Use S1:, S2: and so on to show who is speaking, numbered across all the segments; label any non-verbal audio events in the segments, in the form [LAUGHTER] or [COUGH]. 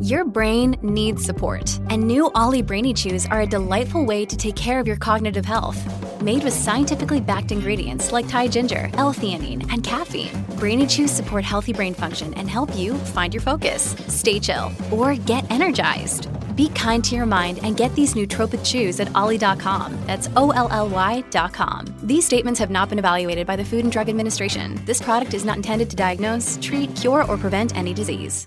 S1: Your brain needs support, and new Ollie Brainy Chews are a delightful way to take care of your cognitive health. Made with scientifically backed ingredients like Thai ginger, L-theanine, and caffeine, Brainy Chews support healthy brain function and help you find your focus, stay chill, or get energized. Be kind to your mind and get these nootropic chews at ollie.com. That's O L L Y.com. These statements have not been evaluated by the Food and Drug Administration. This product is not intended to diagnose, treat, cure, or prevent any disease.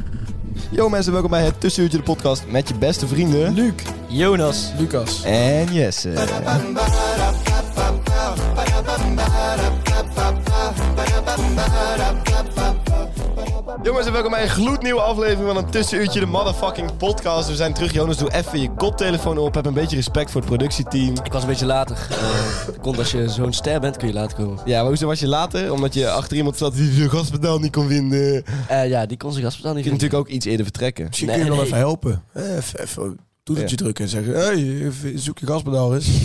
S2: Yo mensen, welkom bij het Tussenuurtje de podcast met je beste vrienden... Luc, Jonas
S3: Lucas.
S2: en Jesse. Jongens en welkom bij een gloednieuwe aflevering van een Tussenuurtje de motherfucking podcast. We zijn terug. Jonas, doe even je koptelefoon op. Heb een beetje respect voor het productieteam.
S3: Ik was een beetje later. Eh, komt als je zo'n ster bent, kun je later komen.
S2: Ja, maar hoezo was je later? Omdat je achter iemand zat die zijn gaspedaal niet kon vinden. Je
S3: Eh, ja, die kon zijn gaspedaal niet
S2: kunt natuurlijk ook iets eerder vertrekken.
S4: Misschien
S3: Nee,
S4: kun je wel
S3: nee.
S4: even helpen. Eh, Even, even toetertje
S2: Ja.
S4: drukken en zeggen... Hey, even zoek je gaspedaal eens.
S2: [LAUGHS]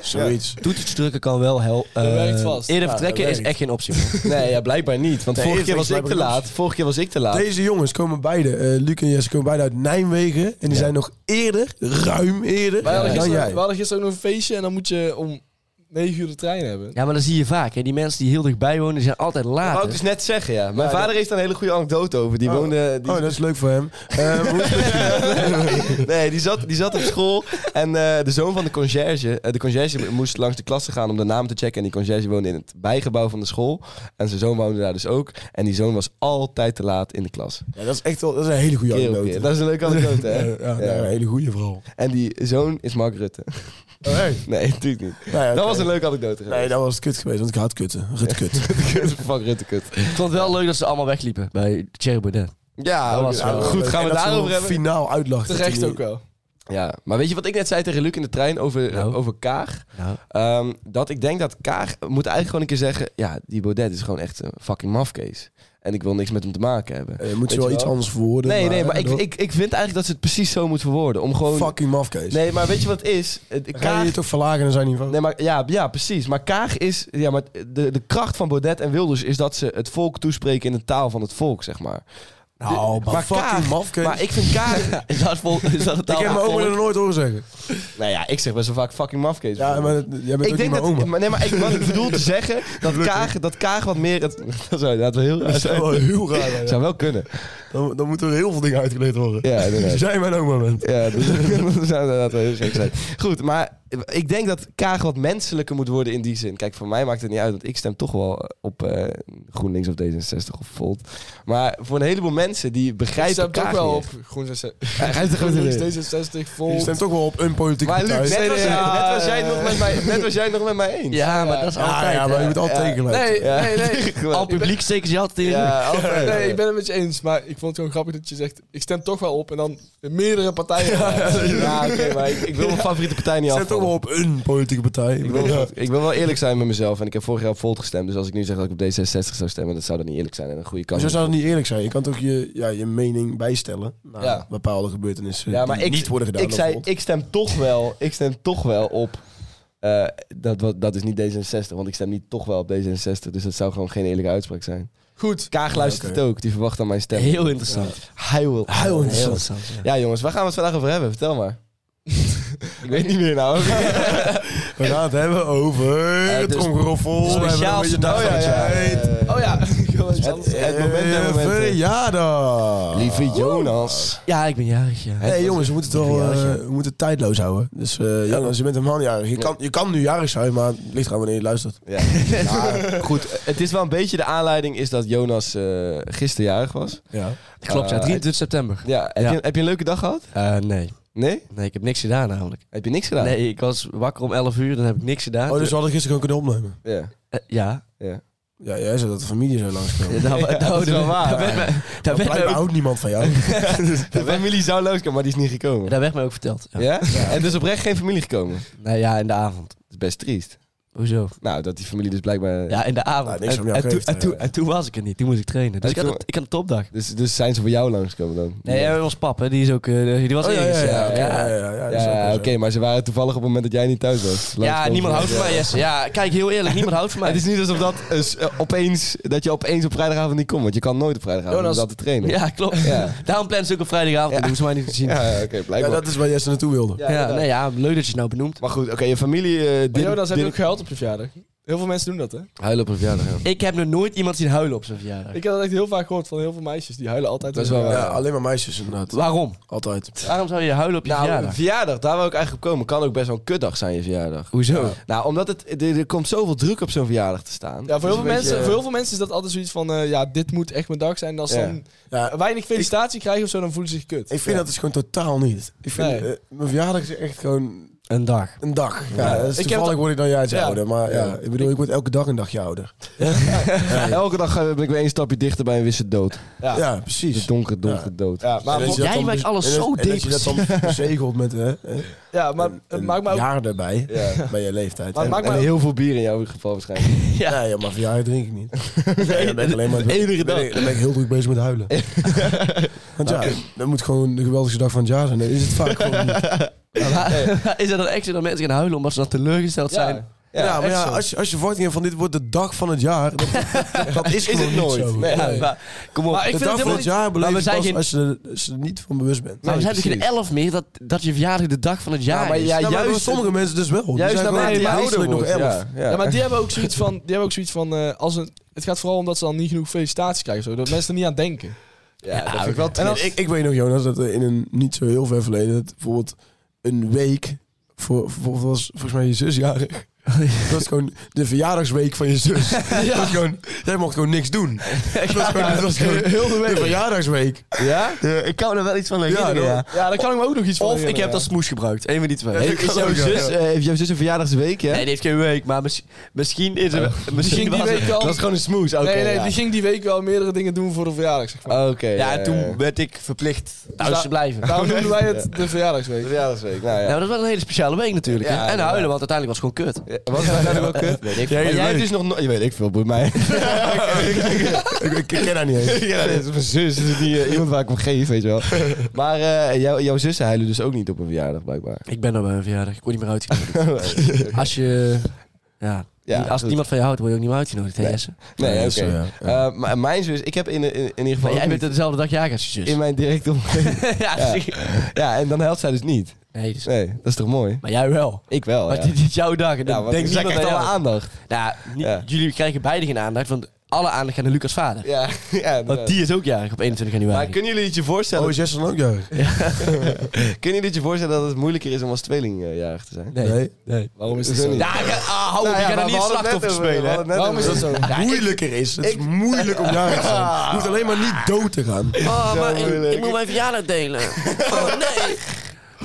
S4: Zoiets.
S3: Toetertje drukken kan wel helpen.
S5: Dat werkt vast.
S3: Eerder
S4: Ja,
S3: vertrekken
S4: dat
S3: is
S4: werkt.
S3: echt geen optie meer.
S2: [LAUGHS] Nee, ja, blijkbaar niet. Want
S4: Nee,
S2: vorige
S4: eerst
S2: keer was
S4: was
S2: ik te
S4: blijkbaar
S2: laat. Vorige keer was ik te laat.
S4: Deze jongens komen beide, eh, Luc en Jesse, komen beide uit Nijmegen. En die zijn nog eerder, ruim eerder,
S5: Wij hadden,
S4: dan
S5: gisteren,
S4: jij.
S5: we hadden gisteren ook nog een feestje en dan moet je om 9 uur de trein hebben.
S3: Ja, maar dat zie je vaak. Hè. Die mensen die heel dichtbij wonen, die zijn altijd
S2: Wou
S3: later.
S2: ik dus net zeggen, ja. Mijn vader heeft daar een hele goede anekdote over. Die
S4: Oh.
S2: woonde... Die,
S4: Oh, dat [LAUGHS] is leuk voor hem. Eh, hoe-
S2: [LAUGHS] Nee, die zat, die zat op school en eh, de zoon van de conciërge... eh, de conciërge moest langs de klasse gaan om de naam te checken. En die conciërge woonde in het bijgebouw van de school. En zijn zoon woonde daar dus ook. En die zoon was altijd te laat in de klas.
S4: ja, dat is echt wel, dat is een hele goede
S2: Keer op
S4: anekdote.
S2: keer. Dat is een leuke anekdote, hè?
S4: [LAUGHS] Ja, nou, ja,
S2: Ja.
S4: een hele goede vooral.
S2: En die zoon is Mark Rutte.
S4: Oh,
S2: [LAUGHS] Nee, natuurlijk niet. Dat
S4: Nee, Nou oké.
S2: was een leuke anekdote.
S4: Nee,
S2: geweest.
S4: dat was het kut geweest, want ik had kutten. Rut
S2: [LAUGHS]
S4: kut.
S2: Fuck Rutte, kut.
S3: Ik vond het wel leuk dat ze allemaal wegliepen bij Thierry Baudet.
S2: Ja,
S3: Dat was
S2: oké. Nou,
S3: wel
S2: goed. Gaan we
S4: En dat ze
S2: daarover
S4: hem
S2: hebben?
S4: Finaal uitlachen. dat
S5: Terecht
S4: hij-
S5: ook wel.
S2: Ja, maar weet je wat ik net zei tegen Luc in de trein over, eh,
S3: Nou?
S2: over Kaag?
S3: Nou.
S2: Ehm, dat ik denk dat Kaag moet eigenlijk gewoon een keer zeggen... Ja, die Baudet is gewoon echt een fucking mafkees. En ik wil niks met hem te maken hebben.
S4: Eh, moet
S2: Weet
S4: je wel
S2: je
S4: iets
S2: wel?
S4: anders verwoorden.
S2: nee, nee, maar ik,
S4: door-
S2: ik, ik vind eigenlijk dat ze het precies zo moet verwoorden. Om gewoon...
S4: Fucking mafkees.
S2: Nee, maar weet je wat het is? Het-
S4: Dan Ga je
S2: Kaag...
S4: je toch verlagen naar zijn niveau?
S2: Nee, maar, ja, ja, precies. Maar Kaag is... Ja, maar de, de kracht van Baudet en Wilders is dat ze het volk toespreken in de taal van het volk, zeg maar.
S4: nou, maar,
S2: maar
S4: fucking
S2: Kaag-
S4: mafkees.
S2: Maar ik vind Kaag...
S4: [LAUGHS]
S3: Is dat, vol, is dat het
S4: ik heb mijn oma er nooit horen zeggen.
S2: nou ja, ik zeg best wel vaak fucking mafkees.
S4: Ja, maar dat- jij
S2: Ik
S4: bent ook niet
S2: denk
S4: mijn
S2: dat,
S4: oma.
S2: maar, nee, maar ik, wat ik bedoel
S4: [LAUGHS]
S2: te zeggen, dat Kaag, dat Kaag wat meer het... Dat [LAUGHS] zou inderdaad wel heel raar
S4: Dat zou
S2: zijn.
S4: wel
S2: [LAUGHS]
S4: heel raar zijn. ja.
S2: Zou wel kunnen.
S4: Dan, dan moeten er heel veel dingen uitgeleerd worden.
S2: Ja, inderdaad.
S4: Als jij mijn oma bent.
S2: Ja, [LAUGHS] dus dat zou inderdaad wel heel gek zijn. Goed, maar ik denk dat Kaag wat menselijker moet worden in die zin. Kijk, voor mij maakt het niet uit, want ik stem toch wel op eh, GroenLinks of D66 of Volt. Maar voor een heleboel mensen die
S5: Ik
S2: begrijpen
S5: stem toch
S2: Kaag
S5: wel
S2: niet
S5: op
S2: echt.
S5: Groen 66.
S2: Hij heeft er gewoon in.
S5: D66 vol.
S4: Je stemt toch wel op een politieke
S2: Maar
S4: partij.
S2: Luc, net was,
S4: ja,
S2: net was jij nog met mij, net was jij nog met mij eens.
S3: Ja, maar dat is
S4: ja,
S3: altijd.
S4: ja, maar je
S3: hè.
S4: moet altijd
S2: Ja.
S4: tegelijk.
S5: Nee,
S2: Ja.
S5: nee,
S2: [LAUGHS]
S5: nee.
S3: Al publiek steken ze je altijd in.
S2: Ja, altijd.
S5: Nee, ik ben het met je eens, maar ik vond het gewoon grappig dat je zegt, ik stem toch wel op en dan meerdere partijen.
S2: Ja, oké, maar ik, ik wil mijn favoriete partij niet
S4: Je
S2: af.
S4: stemt toch wel op een politieke partij.
S2: Ik wil, ik wil wel eerlijk zijn met mezelf. En ik heb vorig jaar op Volt gestemd. Dus als ik nu zeg dat ik op D66 zou stemmen, dat zou dan niet eerlijk zijn. En een goede
S4: Maar
S2: kans.
S4: zo zou het niet eerlijk zijn. Je kan toch je, ja, je mening bijstellen naar
S2: Ja.
S4: bepaalde gebeurtenissen
S2: ja, maar
S4: die
S2: ik,
S4: niet worden gedaan.
S2: ik, zei,
S4: bijvoorbeeld.
S2: ik stem toch wel, ik stem toch wel op... eh, dat, wat- dat is niet D66, want ik stem niet toch wel op D66. Dus dat zou gewoon geen eerlijke uitspraak zijn.
S5: Goed.
S2: Kaag luistert
S4: oké.
S2: het ook. Die verwacht aan mijn stem.
S3: Heel interessant.
S2: Huil.
S4: Heel
S3: Heel
S4: interessant.
S3: interessant. ja.
S2: Ja jongens, waar gaan we het vandaag over hebben? Vertel maar. [LAUGHS] ik weet niet meer nou.
S4: We gaan het hebben over het
S2: dus-
S4: ongeroffel. We hebben
S3: speciaal-
S4: een beetje
S3: oh,
S4: dag
S2: Oh ja, ja, ja, ja.
S5: Oh ja, gewoon iets
S2: Het,
S5: anders.
S2: het moment der
S4: Eh,
S2: momenten.
S4: Verjaardag.
S2: Lieve Jonas.
S3: Ja, ik ben jarig, ja.
S4: Hé hey, jongens, we moeten het wel
S3: Verjaardag,
S4: eh,
S3: ja.
S4: we moeten het tijdloos houden. Dus eh jongens, je bent helemaal niet jarig. Je, kan, je kan nu jarig zijn, maar het ligt eraan wanneer je luistert.
S2: Ja. [LAUGHS] Ja, goed, het is wel een beetje de aanleiding is dat Jonas eh gisteren jarig was.
S4: Ja.
S3: Klopt, ja.
S2: eh,
S3: 23 september.
S2: Ja, heb,
S3: Ja.
S2: Je, heb je een leuke dag gehad?
S3: Eh, nee.
S2: Nee?
S3: nee, ik heb niks gedaan namelijk.
S2: Heb je niks gedaan?
S3: Nee, ik was wakker om 11 uur, dan heb ik niks gedaan.
S4: Oh, dus we hadden gisteren gewoon kunnen opnemen.
S2: Ja. [LAUGHS]
S3: Eh, ja.
S2: Ja.
S4: Ja, jij zei dat de familie zo langskomen. [LAUGHS]
S3: Ja,
S2: [LAUGHS]
S3: nou,
S2: Ja, dat is wel waar.
S3: Daar werd mij- daar werd mij
S4: Blijkbaar
S3: ook-
S4: houdt niemand van
S2: [LAUGHS]
S4: jou.
S2: De familie zou langskomen, maar die is niet gekomen.
S3: daar werd mij ook verteld. Ja.
S2: Ja? En dus oprecht geen familie gekomen. Dat
S3: Nou ja, in de avond.
S2: is best triest.
S3: Hoezo?
S2: Nou, dat die familie dus blijkbaar...
S3: Ja, in de
S4: Nou,
S3: avond.
S4: niks om
S3: en,
S4: jou
S3: en toen,
S4: geeft,
S3: en, toen,
S4: eh.
S3: en toen was ik er niet. Toen moest ik trainen. Dus
S2: Oh,
S3: ik, had,
S2: toen-
S3: een- ik had een topdag.
S2: Dus, dus zijn ze voor jou langskomen dan?
S3: Nee, ja, ons pap, hè, die is ook... eh, die was
S4: Oh, ja, ja,
S3: ergens,
S4: ja.
S3: ja.
S4: oké,
S3: Ja.
S4: ja, ja, ja, dat is ook wel
S2: Ja,
S4: zo.
S2: oké, maar ze waren toevallig op het moment dat jij niet thuis was.
S3: Ja,
S2: Langskomen.
S3: niemand houdt van
S2: Ja.
S3: mij, Jesse. Ja, kijk, heel eerlijk, niemand houdt van mij.
S2: Het is niet alsof dat eh, s- eh, opeens, dat je opeens op vrijdagavond niet komt. Want je kan nooit op vrijdagavond om
S3: Jonas.
S2: dat te trainen.
S3: [LAUGHS] Ja, klopt.
S2: Ja.
S3: Daarom plannen ze ook op vrijdagavond.
S2: Ja.
S3: Dat hoeven ze mij niet te zien. Ja,
S2: Ja, oké,
S4: Ja,
S2: blijkbaar.
S4: dat is waar Jesse naartoe wilde.
S2: inderdaad.
S3: nee, ja, leuk dat je het nou benoemt.
S2: Maar goed, oké, je familie... eh,
S5: Maar
S2: Dirk-
S5: Jonas, heb je ook
S2: Dirk-
S5: gehuild op je verjaardag? Heel veel mensen doen dat, hè?
S2: Huilen op een verjaardag, ja.
S3: Ik heb nog nooit iemand zien huilen op zijn verjaardag.
S5: Ik heb dat echt heel vaak gehoord van heel veel meisjes. Die huilen altijd.
S2: Dat is
S5: op hun
S2: wel waar.
S4: Ja, alleen maar meisjes inderdaad.
S3: Waarom?
S4: Altijd.
S3: Waarom zou je huilen op je
S2: Nou,
S3: verjaardag?
S2: een verjaardag, daar wil ik eigenlijk op komen. Kan ook best wel een kutdag zijn, je verjaardag.
S3: Hoezo?
S2: Nou, omdat het, er, er komt zoveel druk op zo'n verjaardag te staan.
S5: Ja,
S2: Dus
S5: voor heel, veel
S2: een beetje,
S5: mensen, voor heel veel mensen is dat altijd zoiets van, eh, ja, dit moet echt mijn dag zijn. En als ze
S2: Ja.
S5: dan
S4: Ja,
S5: weinig felicitatie krijgen of zo, dan voelen ze zich kut.
S4: ik vind dat is gewoon totaal niet. Ik vind,
S5: Nee.
S4: eh, mijn verjaardag is echt gewoon
S3: Een dag. [LAUGHS]
S4: een dag. Ja, dat is
S5: Ik heb
S4: toevallig
S5: dat-
S4: word ik dan jij
S5: Ja.
S4: ouder. Maar ja, ik bedoel, ik word elke dag een dagje ouder.
S2: Ja, Elke dag eh, ben ik weer één stapje dichter bij een wisse dood.
S5: Ja.
S4: Ja,
S2: De
S4: precies.
S2: donkere, donkere dood.
S5: Ja, maar,
S4: En dat je
S3: Jij
S4: dat dan
S3: maakt
S4: bez-
S3: alles
S4: en dat-
S3: zo
S4: en dat je dat [LAUGHS] dan bezegeld met hè, hè,
S5: ja, maar
S4: een-
S5: het
S4: een
S5: maakt me ook...
S4: jaar erbij
S2: Ja.
S4: bij je leeftijd.
S5: Maar
S4: En-
S5: maakt
S2: En
S5: me-
S2: heel veel bier in jouw geval waarschijnlijk.
S3: Ja.
S4: Nee, joh, maar verjaardag drink ik niet. [LAUGHS] Nee, dan ben ik alleen maar...
S3: De enige
S4: dan ben ik-
S3: dag.
S4: Dan ben ik heel druk bezig met [LAUGHS] huilen. Want ja, dat moet gewoon de geweldigste dag van het jaar zijn. Dat is het vaak gewoon niet.
S3: [LAUGHS] Is er dan extra dat mensen gaan huilen omdat ze dan teleurgesteld
S5: Ja.
S3: zijn?
S4: [LAUGHS] Ja, maar
S5: echt
S4: ja,
S5: zo.
S4: als je, als je verwachtingen hebt van dit wordt de dag van het jaar, dat, [LAUGHS] dat is gewoon
S3: het
S4: niet
S3: nooit.
S4: zo.
S3: Ja,
S4: Nee.
S3: maar, kom op.
S5: Maar
S4: de
S5: ik vind
S4: dag van
S5: het helemaal
S4: het
S5: niet...
S4: jaar beleef
S3: Maar
S4: je
S3: we zijn
S4: pas
S3: geen-
S4: als je, er, als je er niet van bewust bent.
S3: Maar we zijn
S2: Nee,
S3: toch geen
S2: precies.
S3: elf meer dat, dat je verjaardag de dag van het jaar
S2: Ja, maar
S3: is?
S2: ja,
S4: Ja, maar
S2: juist-
S4: voor dus sommige mensen dus wel. Die
S2: Juist
S4: zijn
S2: naarmate
S4: gewoon
S2: je ouder
S4: wezenlijk
S2: wordt.
S4: nog elf.
S2: Ja, ja.
S5: Ja, maar die
S2: [LAUGHS]
S5: hebben ook zoiets van... Die hebben ook zoiets van eh, als een, het gaat vooral omdat ze dan niet genoeg felicitaties krijgen. Zo,
S2: [LAUGHS]
S5: dat mensen er niet aan denken.
S2: Ja, dat vind ik wel
S4: En
S2: triest.
S4: ik, ik weet nog, Jonas, dat er in een niet zo heel ver verleden, dat bijvoorbeeld een week, voor, voor, was volgens mij je zus
S2: [LAUGHS]
S4: jarig. Dat is gewoon de verjaardagsweek van je zus. Dat was gewoon, jij mocht gewoon niks doen. Dat was gewoon, dat was gewoon heel de, verjaardagsweek.
S2: Ja? eh, Ik kan er wel iets van
S4: herinneren, ja.
S5: Ja, daar kan ik me ook nog iets van
S3: Of ik heb dat smoes gebruikt. Eén van die twee.
S4: Ja,
S3: Heeft-
S4: dat
S3: is
S4: kan
S3: jouw
S4: ook, ja.
S3: zus... eh,
S2: heeft jouw zus een verjaardagsweek, hè?
S3: Nee, die heeft geen week, maar mis- misschien is er... misschien
S5: Misschien die
S3: was
S5: week
S3: er-
S5: wel...
S2: dat is gewoon een smoes, oké.
S5: nee, nee,
S2: ja.
S5: die ging die week wel meerdere dingen doen voor de verjaardag, zeg maar.
S2: Oké.
S3: Ja,
S2: ja,
S3: en
S2: ja.
S3: toen werd ik verplicht thuis
S5: daar-
S3: te blijven.
S5: Daarom noemden wij het
S2: Ja.
S5: de verjaardagsweek.
S2: De verjaardagsweek, nou ja.
S3: Nou, dat was een hele speciale week natuurlijk.
S2: Ja,
S3: hè. en
S2: ja.
S3: huilen, want uiteindelijk was het gewoon kut.
S2: Ja, Wat is dat ook kut?
S3: [LAUGHS] Weet ik.
S2: Maar jij
S3: Maar jij
S2: hebt dus nog nooit... Je weet, ik veel,
S5: [LAUGHS]
S2: boeit mij.
S4: Ik, ik ken haar niet eens.
S2: ja, dat is mijn zus. Dat is niet eh, iemand waar ik om geef, weet je
S5: [LAUGHS]
S2: wel. Maar eh, jou- jouw zussen huilen dus ook niet op een verjaardag, blijkbaar.
S3: Ik ben er bij een verjaardag. Ik word niet meer uitgenodigd.
S2: [LAUGHS]
S3: Als je... Ja,
S2: Ja,
S3: als
S2: goed.
S3: niemand van je houdt, word je ook niet meer uitgenodigd, hè Jesse?
S2: Nee,
S4: Nee,
S2: oké.
S4: dat is zo, ja.
S2: Eh, maar mijn zus... Ik heb in, in, in ieder geval...
S3: Maar jij
S2: ook
S3: bent
S2: niet-
S3: dezelfde dag jarig als je zus.
S2: in mijn directe [LAUGHS] omgeving.
S3: [LAUGHS] ja,
S2: Ja.
S3: zie je.
S2: Ja, en dan helpt zij dus niet.
S3: Nee, dus-
S2: Nee, dat is toch mooi?
S3: Maar jij wel.
S2: Ik wel,
S3: Maar
S2: ja.
S3: dit is jouw dag en
S2: Ja,
S3: dan
S2: want
S3: denkt
S2: zij
S3: niemand aan
S2: krijgt
S3: jou.
S2: alle aandacht.
S3: Nou, niet-
S2: Ja.
S3: jullie krijgen beide geen aandacht, want alle aandacht gaat naar Lucas vader.
S2: [LAUGHS] Ja, ja.
S3: Want die is ook jarig op 21
S2: Maar
S3: januari.
S2: kunnen jullie het je voorstellen?
S4: Oh, is Jess dan ook
S2: [LAUGHS]
S4: jarig?
S2: Kunnen jullie het je voorstellen dat het moeilijker is om als tweelingjarig te zijn?
S3: Nee.
S4: Nee.
S3: nee.
S2: Waarom is
S5: dat
S2: zo?
S3: Ja, ga- ah, hou op,
S2: Nou
S3: je gaat er niet het slachtoffer spelen. hè.
S5: Waarom is dat zo?
S3: Ja, ik-
S4: Moeilijker is. Het is moeilijk om jarig te zijn. Je hoeft alleen maar niet dood te gaan.
S3: Oh,
S2: Zo
S3: maar ik,
S2: moeilijk.
S3: ik moet mijn verjaardag delen.
S2: [LAUGHS]
S3: Oh, nee.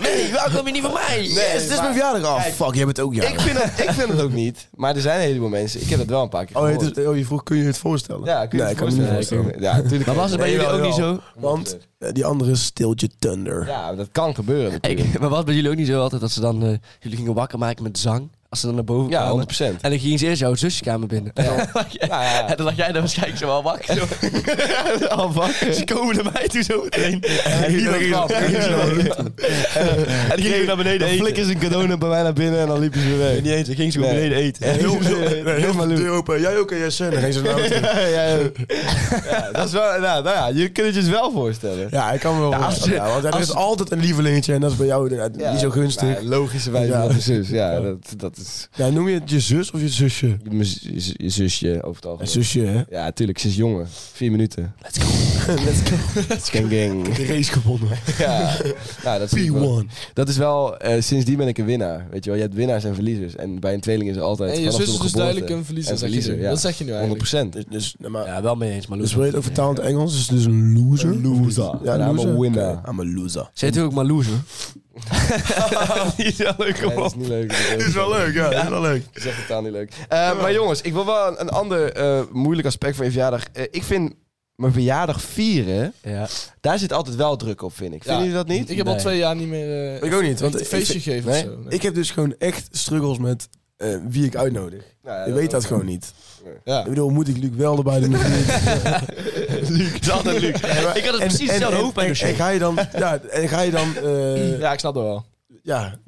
S3: Nee, waarom kom je niet van mij?
S4: Yes,
S3: Yes,
S4: het
S3: dus-
S4: is mijn verjaardag af. fuck, jij bent ook jarig.
S2: Ik vind, het, ik vind het ook niet, maar er zijn een heleboel mensen. Ik heb dat wel een paar keer
S4: Oh,
S2: gehoord.
S4: het is- oh, je vroeg, kun je het voorstellen?
S2: Ja, kun je
S4: nee,
S2: het
S4: ik kan me niet
S2: voorstellen?
S4: voorstellen.
S2: Ja, natuurlijk.
S3: Maar was het bij
S2: Nee,
S3: jullie
S2: wel,
S3: ook niet
S2: wel.
S3: zo?
S4: Want eh, die andere is Stiltje Thunder.
S2: Ja, dat kan gebeuren natuurlijk.
S3: [LAUGHS] Ik, maar was bij jullie ook niet zo altijd dat ze dan... eh, jullie gingen wakker maken met zang? Als ze dan naar boven
S2: Ja, 100
S3: kwamen. En dan gingen ze eerst jouw zusjekamer binnen. En, [LAUGHS] dan,
S2: Ja, ja, ja.
S3: en dan lag jij daar waarschijnlijk zo wel wakker. Zo. Al wakker. Ze komen naar mij toe zo meteen. En die kwam. En die ging naar beneden
S2: Dan flikken
S3: eten.
S2: ze een cadeau naar- bij mij naar binnen en dan liepen ze weer weg.
S3: Niet eens, ik ging zo
S2: Nee.
S3: beneden eten.
S4: Heel, heel,
S2: heel-
S4: heel veel
S2: heel-
S4: deur open. Jij ook, en JSN. Dan ging ze naar [LAUGHS] auto.
S2: Ja, ja, ja. Ja, dat is wel, nou, nou ja, je kunt het je dus wel voorstellen.
S4: Ja, ik kan me wel
S2: als
S4: voorstellen.
S2: je-
S4: Ja, want er
S2: als-
S4: is altijd een lievelingetje en dat is bij jou inderdaad
S2: Ja.
S4: niet zo gunstig.
S2: Nou, logischerwijze
S4: Ja.
S2: van mijn zus. Ja, dat, dat is...
S4: Ja, noem je het je zus of je zusje?
S2: Mijn z- z- zusje over het
S4: Ja,
S2: algemeen.
S4: zusje, hè?
S2: Ja, tuurlijk, ze is jongen. Vier minuten. Let's go. Let's go. Gang gang.
S4: De race gewonnen.
S2: [LAUGHS] Ja. Nou, dat, is wel,
S4: P1.
S2: dat is wel, eh, sindsdien ben ik een winnaar. Weet je wel, je hebt winnaars en verliezers. En bij een tweeling is er altijd.
S5: En je
S2: vanaf
S5: zus
S2: de
S5: is dus
S2: geboorte
S5: duidelijk een verliezer,
S2: en
S5: zeg je nu.
S2: ja.
S5: Dat zeg je nu eigenlijk.
S2: 100%.
S4: Dus, dus, nou, maar,
S3: Ja, wel mee eens, maar
S4: dus wil je het ook
S3: loser.
S4: vertaald in Engels? Dus, dus een loser?
S2: Een loser.
S4: Ja,
S2: En I'm a
S4: loser.
S2: winner.
S4: Oké, I'm a loser.
S3: Zij natuurlijk maar loser. Die is wel leuk,
S2: Nee, dat [LAUGHS] is
S3: man.
S2: niet leuk.
S3: Dit is wel leuk, ja. Dit is wel leuk.
S2: Dat is echt totaal niet leuk. Eh, Maar jongens, ik wil wel een, een ander eh, moeilijk aspect van je verjaardag. Eh, ik vind mijn verjaardag vieren,
S3: Ja.
S2: daar zit altijd wel druk op, vind ik. Vinden
S5: Ja.
S2: jullie dat niet?
S5: Ik heb al
S3: Nee.
S5: twee jaar niet meer... eh
S4: Ik ook niet, want
S5: een
S4: ik-
S5: feestje
S4: ik-
S5: gegeven
S4: Nee,
S5: of zo. Nee.
S4: Ik heb dus gewoon echt struggles met eh, wie ik uitnodig.
S2: Nou ja,
S4: ik weet dat gewoon niet.
S5: ja.
S4: Ik bedoel, moet ik Luc wel erbij doen?
S3: Luc, het is altijd Luc. Ik had het precies hetzelfde hoofdpijn
S4: en,
S3: als jij.
S4: en ga je dan, ja, en ga je dan, eh, ja.
S5: ja, ik snap dat wel.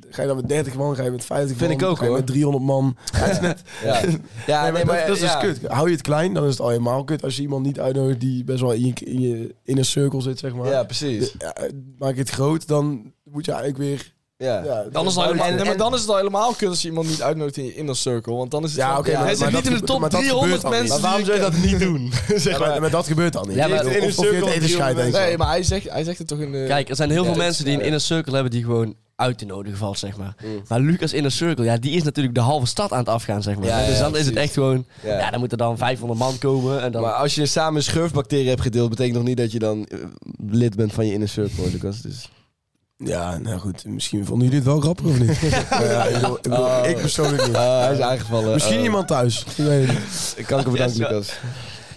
S4: ga je dan met 30 man, ga je met 50
S2: Vind
S4: man,
S2: ik ook,
S4: ga je
S2: hoor.
S4: met 300 man.
S2: Ja,
S5: [LAUGHS]
S2: ja
S4: nee, maar dat, dat is
S2: ja.
S4: dus kut. Hou je het klein, dan is het al helemaal kut. Als je iemand niet uitnodigt die best wel in je, in je inner circle zit, zeg maar.
S2: Ja, precies.
S4: Ja, maak je het groot, dan moet je eigenlijk weer...
S2: Ja.
S4: Ja,
S5: Anders dan
S2: en-
S5: helemaal, nee, maar
S2: en-
S5: dan is het al helemaal kut als je iemand niet uitnodigt in je inner circle. Want dan is het...
S4: Ja,
S5: van-
S4: oké, maar-
S5: hij zit
S4: maar
S5: niet
S4: dat
S5: in de
S4: gebe-
S5: top
S4: maar dat
S5: 300
S4: gebeurt dan niet.
S5: mensen.
S2: Maar waarom zou je dat niet doen?
S4: Ja,
S3: [LAUGHS]
S2: zeg
S4: maar,
S2: maar.
S4: maar dat gebeurt dan niet.
S3: Ja, maar-
S4: of, of je het eten scheidt, denk ik.
S5: Nee, maar hij zegt, hij zegt het toch in eh, de...
S3: Kijk, er zijn heel
S5: Ja,
S3: veel
S5: dat
S3: mensen
S5: is-
S3: die een
S5: ja.
S3: inner circle hebben die gewoon uit te nodigen valt, zeg maar.
S2: Mm.
S3: Maar Lucas inner circle, ja, die is natuurlijk de halve stad aan het afgaan, zeg maar.
S2: Ja, ja,
S3: dus dan is
S2: precies.
S3: het echt gewoon...
S2: Ja.
S3: Ja. dan moeten dan 500 man komen en dan...
S2: Maar als je samen een schurfbacterie hebt gedeeld, betekent nog niet dat je dan eh, lid bent van je inner circle, Lucas. Dus.
S4: Ja, nou goed. Misschien vonden jullie het wel grappig of
S2: [LAUGHS]
S4: niet? Maar ja, ik, bedoel- ik bedoel,
S2: Oh.
S4: ik persoonlijk niet.
S2: Ah, hij is aangevallen.
S4: Misschien
S2: Oh.
S4: iemand thuis. Ik weet
S2: [LAUGHS]
S4: het niet.
S2: Ik kan ook bedanken,
S3: Yes, ja.
S2: Lucas.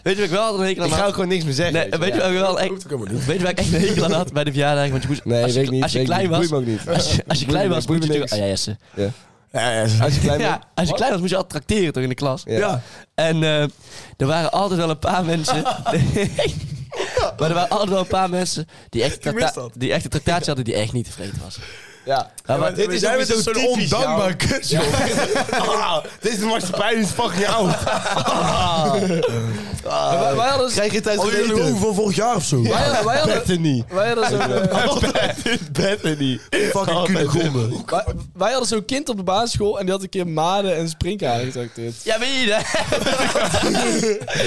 S3: Weet je wat ik wel altijd een hekel aan
S2: Ik ga
S3: had?
S2: ook gewoon niks meer zeggen.
S3: Nee, weet je wat ik wel echt...
S4: hoeft ook helemaal niet.
S3: Weet je waar ik echt een hekel aan had bij de verjaardag? Want je moest...
S2: Nee,
S3: als je,
S2: weet ik niet.
S3: Als je
S2: weet ik
S3: klein
S2: niet.
S3: was...
S2: Boeit me ook niet.
S3: [LAUGHS] Als je, als je klein was,
S2: boeit
S3: moest
S2: me
S3: je natuurlijk...
S2: niks.
S3: Ah, ja, Jesse.
S4: Ja, ja, ja.
S2: Als je [LAUGHS] klein bent.
S3: Ja, als je klein was, moest je altijd tracteren toch in de klas?
S2: Ja.
S4: Ja.
S3: En eh, er waren altijd wel een paar mensen... [LAUGHS] maar er waren altijd wel een paar mensen die echt,
S4: mis
S3: tracta-
S4: dat.
S3: die echt een tractaatje hadden die echt niet tevreden was.
S2: Ja.
S3: Ja, maar
S4: dit is jij bent zo'n
S2: [LAUGHS]
S4: ondankbaar kut, joh.
S2: Deze maatschappij Oh, nou, is fucking oud.
S5: wij, wij hadden,
S2: Krijg je
S3: Oh,
S2: tijd
S4: Al jullie hoeven van vorig jaar of zo.
S5: wij hadden, wij hadden,
S2: Bethany.
S5: wij hadden zo'n... eh,
S2: [LAUGHS] Bethany.
S4: Fucking kunegombe.
S5: wij, wij hadden zo'n kind op de basisschool en die had een keer maden en sprinkhanen getrakteerd.
S3: Ja, weet je dat?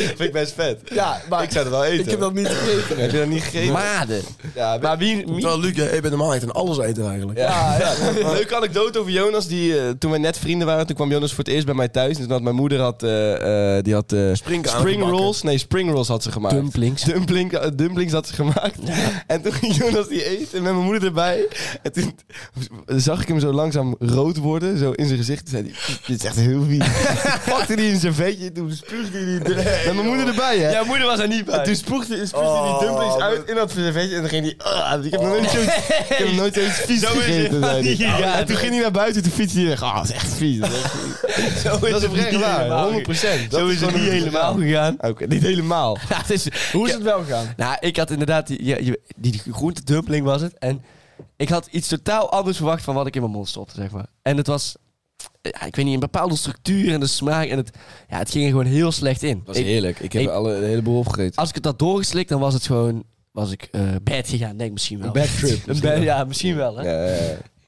S2: Vind ik best vet.
S5: Ja, maar
S2: Ik zou het wel eten.
S5: ik heb dat niet gegeten.
S2: Heb je dat niet gegeten?
S3: Maden.
S2: ja,
S3: Maar wie... wie-
S4: Terwijl Luc, jij bent normaal echt een alleseter eigenlijk.
S2: Ja, ja. [LAUGHS] Leuke anekdote over Jonas. Die, eh, toen wij net vrienden waren, toen kwam Jonas voor het eerst bij mij thuis. En toen had mijn moeder had, eh, eh, die had, eh,
S4: Springkanen
S2: spring
S4: gebakken.
S2: rolls. Nee, spring rolls had ze gemaakt.
S3: Dumplings.
S2: Dumpling, eh, dumplings had ze gemaakt. [LAUGHS] En toen ging Jonas die eten met mijn moeder erbij. En toen zag ik hem zo langzaam rood worden. Zo in zijn gezicht. Toen zei hij, dit is echt heel vies. [LAUGHS] Pakte hij in zijn vetje. Toen spuugde hij die... met mijn moeder erbij, hè.
S3: Jouw moeder was er niet bij.
S2: En toen spuugde, spuugde hij die dumplings uit in dat servetje. En dan ging hij... "Ah, ik heb nog nooit zoiets ik heb nog nooit zoiets vies
S3: Zo is het
S2: gegeten.
S3: wel
S2: zei hij. [LAUGHS]
S3: niet gegaan.
S2: En toen ging hij naar buiten. Toen fietste hij weg. Ah, dat is echt vies. Dat is echt [LAUGHS] vies.
S3: Zo
S2: dat is
S3: het
S2: oprecht
S3: niet
S2: waar.
S3: helemaal.
S2: 100 procent.
S3: Zo is het niet helemaal gegaan.
S2: Oké, niet helemaal.
S3: Ja, het is,
S5: Hoe is het wel gegaan?
S3: Nou, ik had inderdaad die, ja, je- die groente dumpling was het. En ik had iets totaal anders verwacht van wat ik in mijn mond stopte, zeg maar. En het was, ja, ik weet niet, een bepaalde structuur en de smaak. En het, ja, het ging er gewoon heel slecht in. Ik-
S2: heerlijk. Ik
S3: heb ik-
S2: alle, een heleboel opgegeten.
S3: als ik het had doorgeslikt, dan was het gewoon, was ik eh bed gegaan, denk ik misschien wel.
S2: Een bad trip.
S3: [LAUGHS] Een bad- ja, misschien wel. Hè?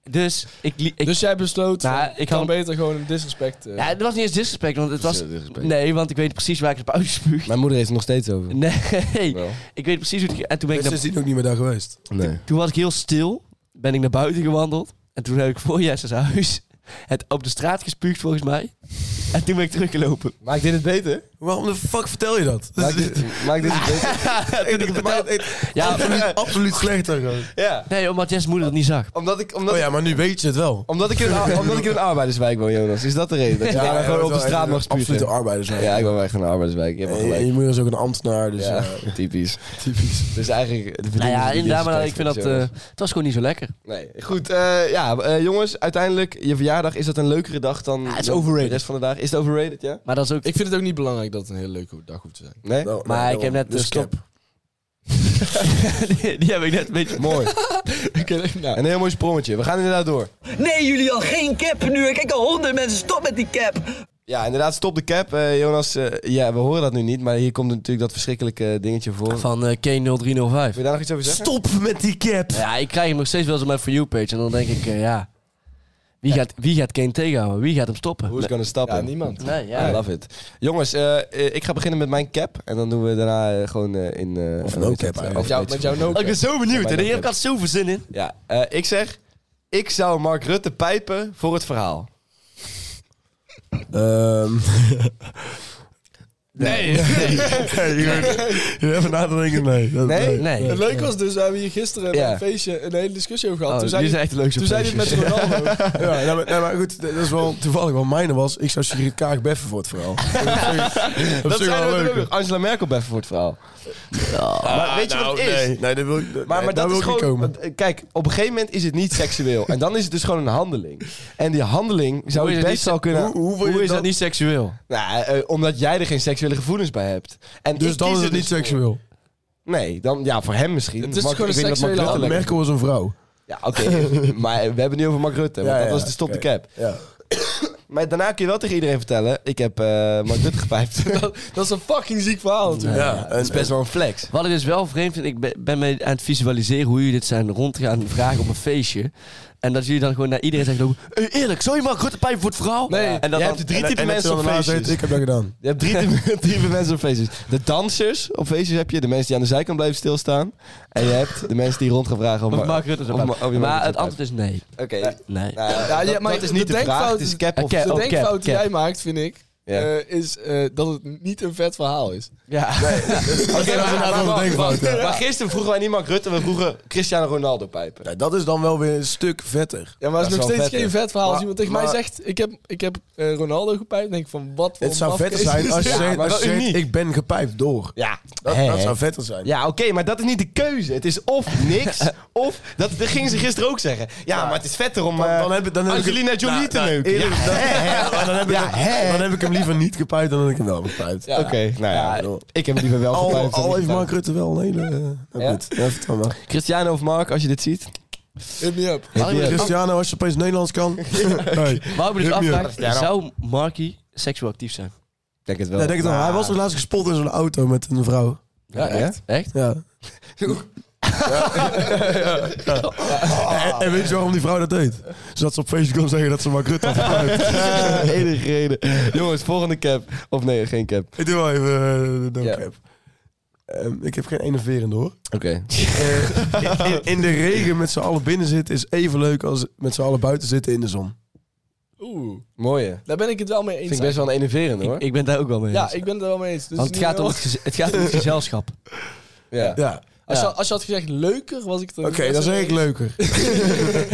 S3: Dus ik, li- ik
S5: dus jij besloot,
S3: Nou,
S5: van,
S3: ik
S5: kan
S3: had-
S5: beter gewoon een disrespect... eh,
S3: ja, het was niet eens disrespect, want het was, nee, want ik weet precies waar ik het op [LAUGHS] uitspuug.
S2: Mijn moeder heeft het nog steeds over.
S3: Nee,
S2: Wel.
S3: ik weet precies hoe het ging. En toen ben
S4: Ik
S3: ik
S4: ben
S3: naar
S4: sindsdien ook niet meer daar geweest.
S2: Nee.
S3: Toen was ik heel stil, ben ik naar buiten gewandeld. En toen heb ik voor Jesse's huis het op de straat gespuugd, volgens mij. En toen ben ik teruggelopen.
S2: Maakt dit het beter?
S4: Waarom de fuck vertel je dat?
S2: [LAUGHS] Maakt dit, maakt dit het beter?
S3: toen ik het vertelde- Ja, [LAUGHS]
S4: Absoluut, absoluut slechter gewoon.
S2: [LAUGHS] Ja.
S3: nee, omdat Jess moeder het niet zag.
S2: Omdat ik, omdat,
S4: Oh ja, maar nu weet je het wel.
S2: omdat, ik in een, [LAUGHS] a- omdat ik in een arbeiderswijk woon, Jonas. Is dat de reden? Dat je daar gewoon op de straat mag spugen?
S4: Absoluut arbeiders zijn.
S2: Ja, ik woon echt in een arbeiderswijk. Je hebt wel
S4: En je
S2: gelijk.
S4: moeder is ook een ambtenaar, dus
S2: Ja, [LAUGHS]
S4: eh,
S2: typisch.
S4: typisch.
S2: Dus eigenlijk...
S3: Nou ja, inderdaad, maar ik vind dat... eh,
S2: eh
S3: het was gewoon niet zo lekker.
S2: Nee, goed. eh, ja, eh, jongens, uiteindelijk, je verjaardag, is dat een leukere dag dan,
S3: het is
S2: dan
S3: overrated.
S2: de rest van de dag? Is het overrated, ja?
S3: Maar dat [LAUGHS] is ook...
S5: Ik vind het ook niet belangrijk dat het een hele leuke dag hoeft te zijn.
S2: Nee?
S4: Nou, [LAUGHS]
S3: Maar
S4: nou,
S3: ik heb
S4: nou,
S3: net de stop.
S4: cap.
S3: die, die heb ik net een beetje...
S2: Mooi. [LAUGHS]
S5: nou,
S2: Een heel mooi sprongetje. We gaan inderdaad door.
S6: Nee, jullie al geen cap nu. Ik kijk al honderd mensen. Stop met die cap.
S2: Ja, inderdaad, stop de cap. Eh, Jonas, eh, ja, we horen dat nu niet, maar hier komt natuurlijk dat verschrikkelijke dingetje voor. Wil
S3: [LAUGHS] Van eh [LAUGHS] K0305.
S2: je daar nog iets over zeggen?
S4: Stop met die cap!
S3: Ja, ik krijg hem nog steeds wel eens op mijn For You-page. En dan denk ik, eh, ja... Wie gaat, wie gaat Kane tegenhouden? Wie gaat hem stoppen?
S2: Who's gonna stop
S5: ja,
S2: him?
S5: niemand.
S3: Nee, ja.
S2: I love it. Jongens, eh, eh, ik ga beginnen met mijn cap. En dan doen we daarna eh, gewoon eh, in... eh,
S4: Of
S2: hoe
S4: no
S2: heet
S4: cap
S2: dat? Of
S4: eigenlijk.
S5: Met, jou,
S2: weet
S5: met
S2: je
S5: jouw no
S3: Ik ben zo benieuwd.
S2: Ja,
S3: hè.
S2: maar
S3: Daar heb ik al zoveel zin in.
S2: veel. Ja, eh, ik zeg, ik zou Mark Rutte pijpen voor het verhaal.
S4: Ehm, [LAUGHS]
S2: Nee.
S4: Je even na te denken, nee. Dat-
S2: Nee?
S3: Nee.
S5: Het leuke was dus, we hebben hier gisteren bij
S2: Ja.
S5: een feestje een hele discussie over gehad.
S3: Oh,
S5: toen
S3: dit
S5: zei,
S3: is
S5: hij-
S3: echt de leukste
S5: toen zei hij het met
S3: feestjes.
S4: [LAUGHS]
S5: Ronaldo.
S4: Ja, nou, maar, nou, maar goed, dat is wel toevallig. Want mijne was, ik zou Sigrid Kaag beffen voor het verhaal.
S2: Dat
S4: is
S2: zijn
S4: wel
S2: we
S4: leuk.
S2: terug. Angela Merkel bij voor het verhaal. maar weet je wat het is?
S4: nou, Nee, nee, dat wil ik, dat-
S2: Maar,
S4: nee,
S2: maar
S4: daar
S2: dat
S4: wil
S2: is
S4: ik niet
S2: gewoon.
S4: komen.
S2: want, eh, Kijk, op een gegeven moment is het niet seksueel. en dan is het dus gewoon een handeling. En die handeling zou
S3: Hoe
S2: je
S3: is het
S2: best
S3: niet-
S2: wel kunnen.
S4: Hoe, hoe wil je
S3: Hoe is
S4: dat?
S3: dat niet seksueel?
S2: Nou, eh, omdat jij er geen seksuele gevoelens bij hebt. En
S4: Dus
S2: ik
S4: dan
S2: kies
S4: is
S2: er
S4: het niet
S2: dus voor.
S4: seksueel.
S2: Nee, dan ja, voor hem misschien.
S5: Het is
S2: Mark-
S5: gewoon
S2: ik
S5: een
S2: vind dat Mark
S5: seksuele
S2: Rutte lekker-
S4: Merkel was een vrouw.
S2: Ja, oké. maar we hebben het nu over Mark Rutte. Want
S4: Ja,
S2: dat
S4: ja,
S2: was de stop
S4: oké.
S2: de cap.
S4: Ja.
S2: Maar daarna kun je wel tegen iedereen vertellen: ik heb eh Mark Rutte gepijpt. [LAUGHS] dat
S5: Dat is een fucking ziek verhaal natuurlijk.
S4: Ja, en-
S2: is best wel een flex.
S3: Wat ik dus wel vreemd vind, ik ben- ben mee aan het visualiseren hoe jullie dit zijn rond gaan vragen op een feestje. En dat jullie dan gewoon naar iedereen zeggen, lopen, "Hey, eerlijk, zou je maar grote pijn voor het verhaal?
S2: Nee,
S3: en dat
S2: jij
S3: dan-
S2: hebt drie
S3: en-
S2: typen
S4: en dat
S2: mensen
S4: ze
S2: op
S4: dan daarna
S2: feestjes.
S4: zegt, ik heb dat gedaan.
S2: Je hebt drie typen, typen mensen op feestjes. De dansers op feestjes heb je. De mensen die aan de zijkant blijven stilstaan. En je hebt de mensen die rond gaan vragen. Om,
S3: Of Mark Rutte zou
S2: Om-
S3: pijn.
S2: oh, ja, Mark
S3: Maar het
S2: Rutte
S3: antwoord is nee.
S2: Oké.
S3: Nee.
S2: Nou,
S5: Ja,
S2: dat,
S5: ja, maar
S2: dat is
S5: de
S2: niet de, vraag.
S5: denkfout-
S2: Het is cap
S3: Eh,
S2: of...
S3: cap.
S5: De
S3: Oh,
S5: denkfout die
S3: cap.
S5: jij maakt, vind ik,
S2: Ja.
S5: eh, is eh, dat het niet een vet verhaal is.
S2: Ja. Oké, maar,
S4: inderdaad wel
S2: maar,
S4: een
S2: maar-
S4: denkfout, ja.
S2: maar gisteren vroegen wij niet Mark Rutte. We vroegen Cristiano Ronaldo pijpen.
S4: Ja, dat is dan wel weer een stuk vetter.
S5: Ja, maar het
S2: Dat
S5: is
S2: is
S5: nog
S2: wel
S5: steeds
S2: vet,
S5: geen
S2: hè?
S5: vet verhaal. als
S4: Maar-
S5: iemand tegen mij
S4: maar-
S5: zegt, ik heb, ik heb eh, Ronaldo gepijpt, dan denk ik van, wat voor
S4: Het zou vetter
S5: mafkees
S4: zijn
S5: is
S4: als je
S5: dit?
S4: zegt,
S2: maar
S4: als je
S2: wel
S4: zegt,
S2: uniek.
S4: ik ben gepijpt door.
S2: Ja.
S4: Dat,
S2: Hè?
S4: dat zou vetter zijn.
S2: Ja, oké, maar dat is niet de keuze. Het is of niks, [LAUGHS] of... Dat, dat gingen ze gisteren ook zeggen. Ja, maar het is vetter om
S4: Dan-
S2: eh,
S4: dan heb ik- dan heb ik-
S2: Angelina Jolie
S4: Nou,
S2: te
S4: nou,
S2: neuken.
S4: eerlijk,
S2: Ja,
S4: dan- [LAUGHS]
S2: hè, hè.
S4: Maar dan heb, ik
S2: Ja,
S4: hem,
S2: hè.
S4: dan heb ik hem liever niet gepijpt dan dat ik hem wel gepijpt.
S2: Oké, nou ja,
S4: Ja, joh.
S2: ik heb liever
S5: Oh,
S2: wel
S4: Al,
S2: gepijpt dan
S4: al
S2: niet
S4: heeft
S2: gepijpt.
S4: Mark Rutte wel een hele... eh, nou
S2: Ja?
S4: goed, ja, vertel maar.
S2: Cristiano of Mark, als je dit ziet.
S5: Hit me up.
S3: Waarom je dus,
S4: Cristiano, als je opeens Nederlands
S2: [LAUGHS]
S4: kan. Nee.
S3: waarom je dus
S4: Hit me up.
S3: afvraagt, zou Marky seksueel actief zijn?
S2: Denk het wel.
S4: Ja, denk het wel. Hij was er laatst gespot in zo'n auto met een vrouw.
S3: Ja, echt? Echt?
S4: Ja. En, en weet je waarom die vrouw dat deed? Zodat ze op Facebook kon zeggen dat ze Mark Rutte had
S2: [LAUGHS]
S4: gebruikt.
S2: enige reden. Jongens, volgende cap. Of nee, geen cap.
S4: Ik doe wel even eh, de
S2: Ja.
S4: doodcap. Ehm, ik heb geen enerverende hoor.
S2: Oké.
S4: Eh, in, in de regen met z'n allen binnen zitten is even leuk als met z'n allen buiten zitten in de zon.
S5: Oeh,
S2: Mooie.
S5: daar ben ik het wel mee eens.
S2: Vind ik best wel een enerverende hoor.
S3: Ik, ik ben daar ook wel mee
S5: Ja,
S3: eens.
S5: ik ben het er wel mee eens. Dus
S3: Want het
S5: niet
S3: gaat, om
S5: heel-
S3: het, geze- het gaat om het gezelschap.
S2: ja.
S4: Ja,
S5: Als,
S2: ja.
S5: je, als je had gezegd leuker, was ik het er
S4: oké, dan zeg ik leuker.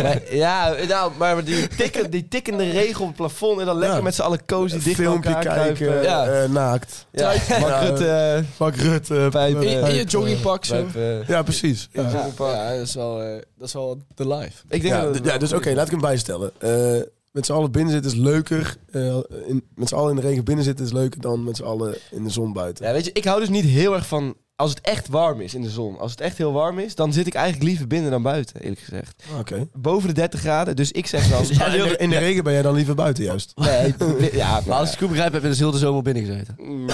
S2: Maar, ja, nou, maar die, tikken, die tikkende regel op het plafond en dan lekker
S4: Ja.
S2: met z'n allen cozy dicht bij
S4: Filmpje
S2: elkaar
S4: kijken,
S2: kruipen. Ja.
S4: eh, naakt.
S2: Ja.
S4: Ja.
S2: Mark
S4: Ja.
S2: Rutte,
S4: Mark Rutte.
S2: Pijpen.
S5: In, in je
S4: pijpen.
S5: joggingpak zo.
S3: eh,
S2: pijpen.
S4: Ja, precies. Ja.
S5: Ja, ja, dat is wel, eh, dat is wel de life.
S2: Ik denk
S4: Ja,
S2: dat
S4: d- ja, dus oké, laat ik hem bijstellen. Eh, met z'n allen binnen zitten is leuker. eh, in, met z'n allen in de regen binnen zitten is leuker dan met z'n allen in de zon buiten.
S2: Ja, weet je, ik hou dus niet heel erg van... Als het echt warm is in de zon, als het echt heel warm is, dan zit ik eigenlijk liever binnen dan buiten, eerlijk gezegd.
S4: Oké.
S2: Boven de 30 graden, dus ik zeg dan...
S4: Maar in, de, in de regen ben jij dan liever buiten juist.
S2: Nee, ja,
S3: Maar als ik het goed begrijp, heb je dus heel de zomer Dus binnen gezeten.
S2: Mm,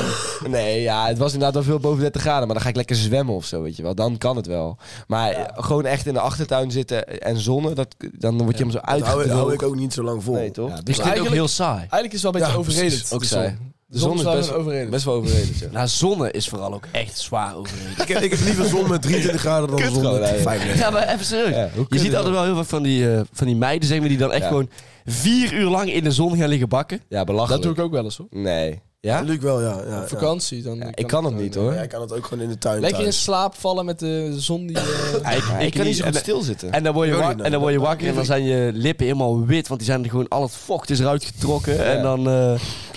S2: Nee, ja, het was inderdaad wel veel boven 30 graden. Maar dan ga ik lekker zwemmen of zo, weet je wel. Dan kan het wel. Maar eh, gewoon echt in de achtertuin zitten en zonnen, dat, dan word je hem zo
S4: Dat hou, hou ik
S2: uitgedroogd.
S4: ook niet zo lang vol.
S2: Nee, toch?
S3: Ja, dus ik vind
S5: Maar
S3: het ook
S5: eigenlijk-
S3: heel saai.
S5: Eigenlijk is het wel een beetje
S4: Ja,
S5: overredend.
S4: precies.
S5: de
S2: Ook
S5: zon.
S2: zij.
S5: De zon is wel
S2: best,
S5: een overredend.
S2: best wel overreden. zeg.
S3: Nou, zonne is vooral ook echt zwaar overreden.
S4: Ik, heb, ik heb liever zon met 23 graden dan
S2: Kut
S4: zon
S2: gewoon,
S4: met
S2: hè, joh.
S4: 35.
S3: Ja, maar even
S2: Ja,
S3: serieus.
S2: hoe
S3: je
S2: kun
S3: ziet
S2: je
S3: altijd wel heel veel van die, eh, van die meiden, zeg maar, die dan echt
S2: Ja.
S3: gewoon vier uur lang in de zon gaan liggen bakken.
S2: Ja,
S5: Dat
S2: belachelijk.
S5: doe ik ook wel eens hoor.
S2: Nee. Ja?
S4: Luc wel, ja. ja,
S5: Op
S4: ja.
S5: vakantie. Dan
S2: Mm. Ja, ik kan het niet,
S5: gewoon,
S2: hoor.
S4: Ja, ik kan het ook gewoon in de tuin
S5: Lekker in
S4: thuis.
S5: slaap vallen met de zon die... eh,
S3: Ja, ik,
S2: [LAUGHS] Ja, ik kan niet zo goed
S3: en-
S2: stilzitten.
S3: En dan word je,
S4: Ik ook
S3: wa-
S4: niet, nee.
S3: en dan word je wakker en dan zijn je lippen helemaal wit, want die zijn er gewoon al het vocht is eruit getrokken. En dan eh,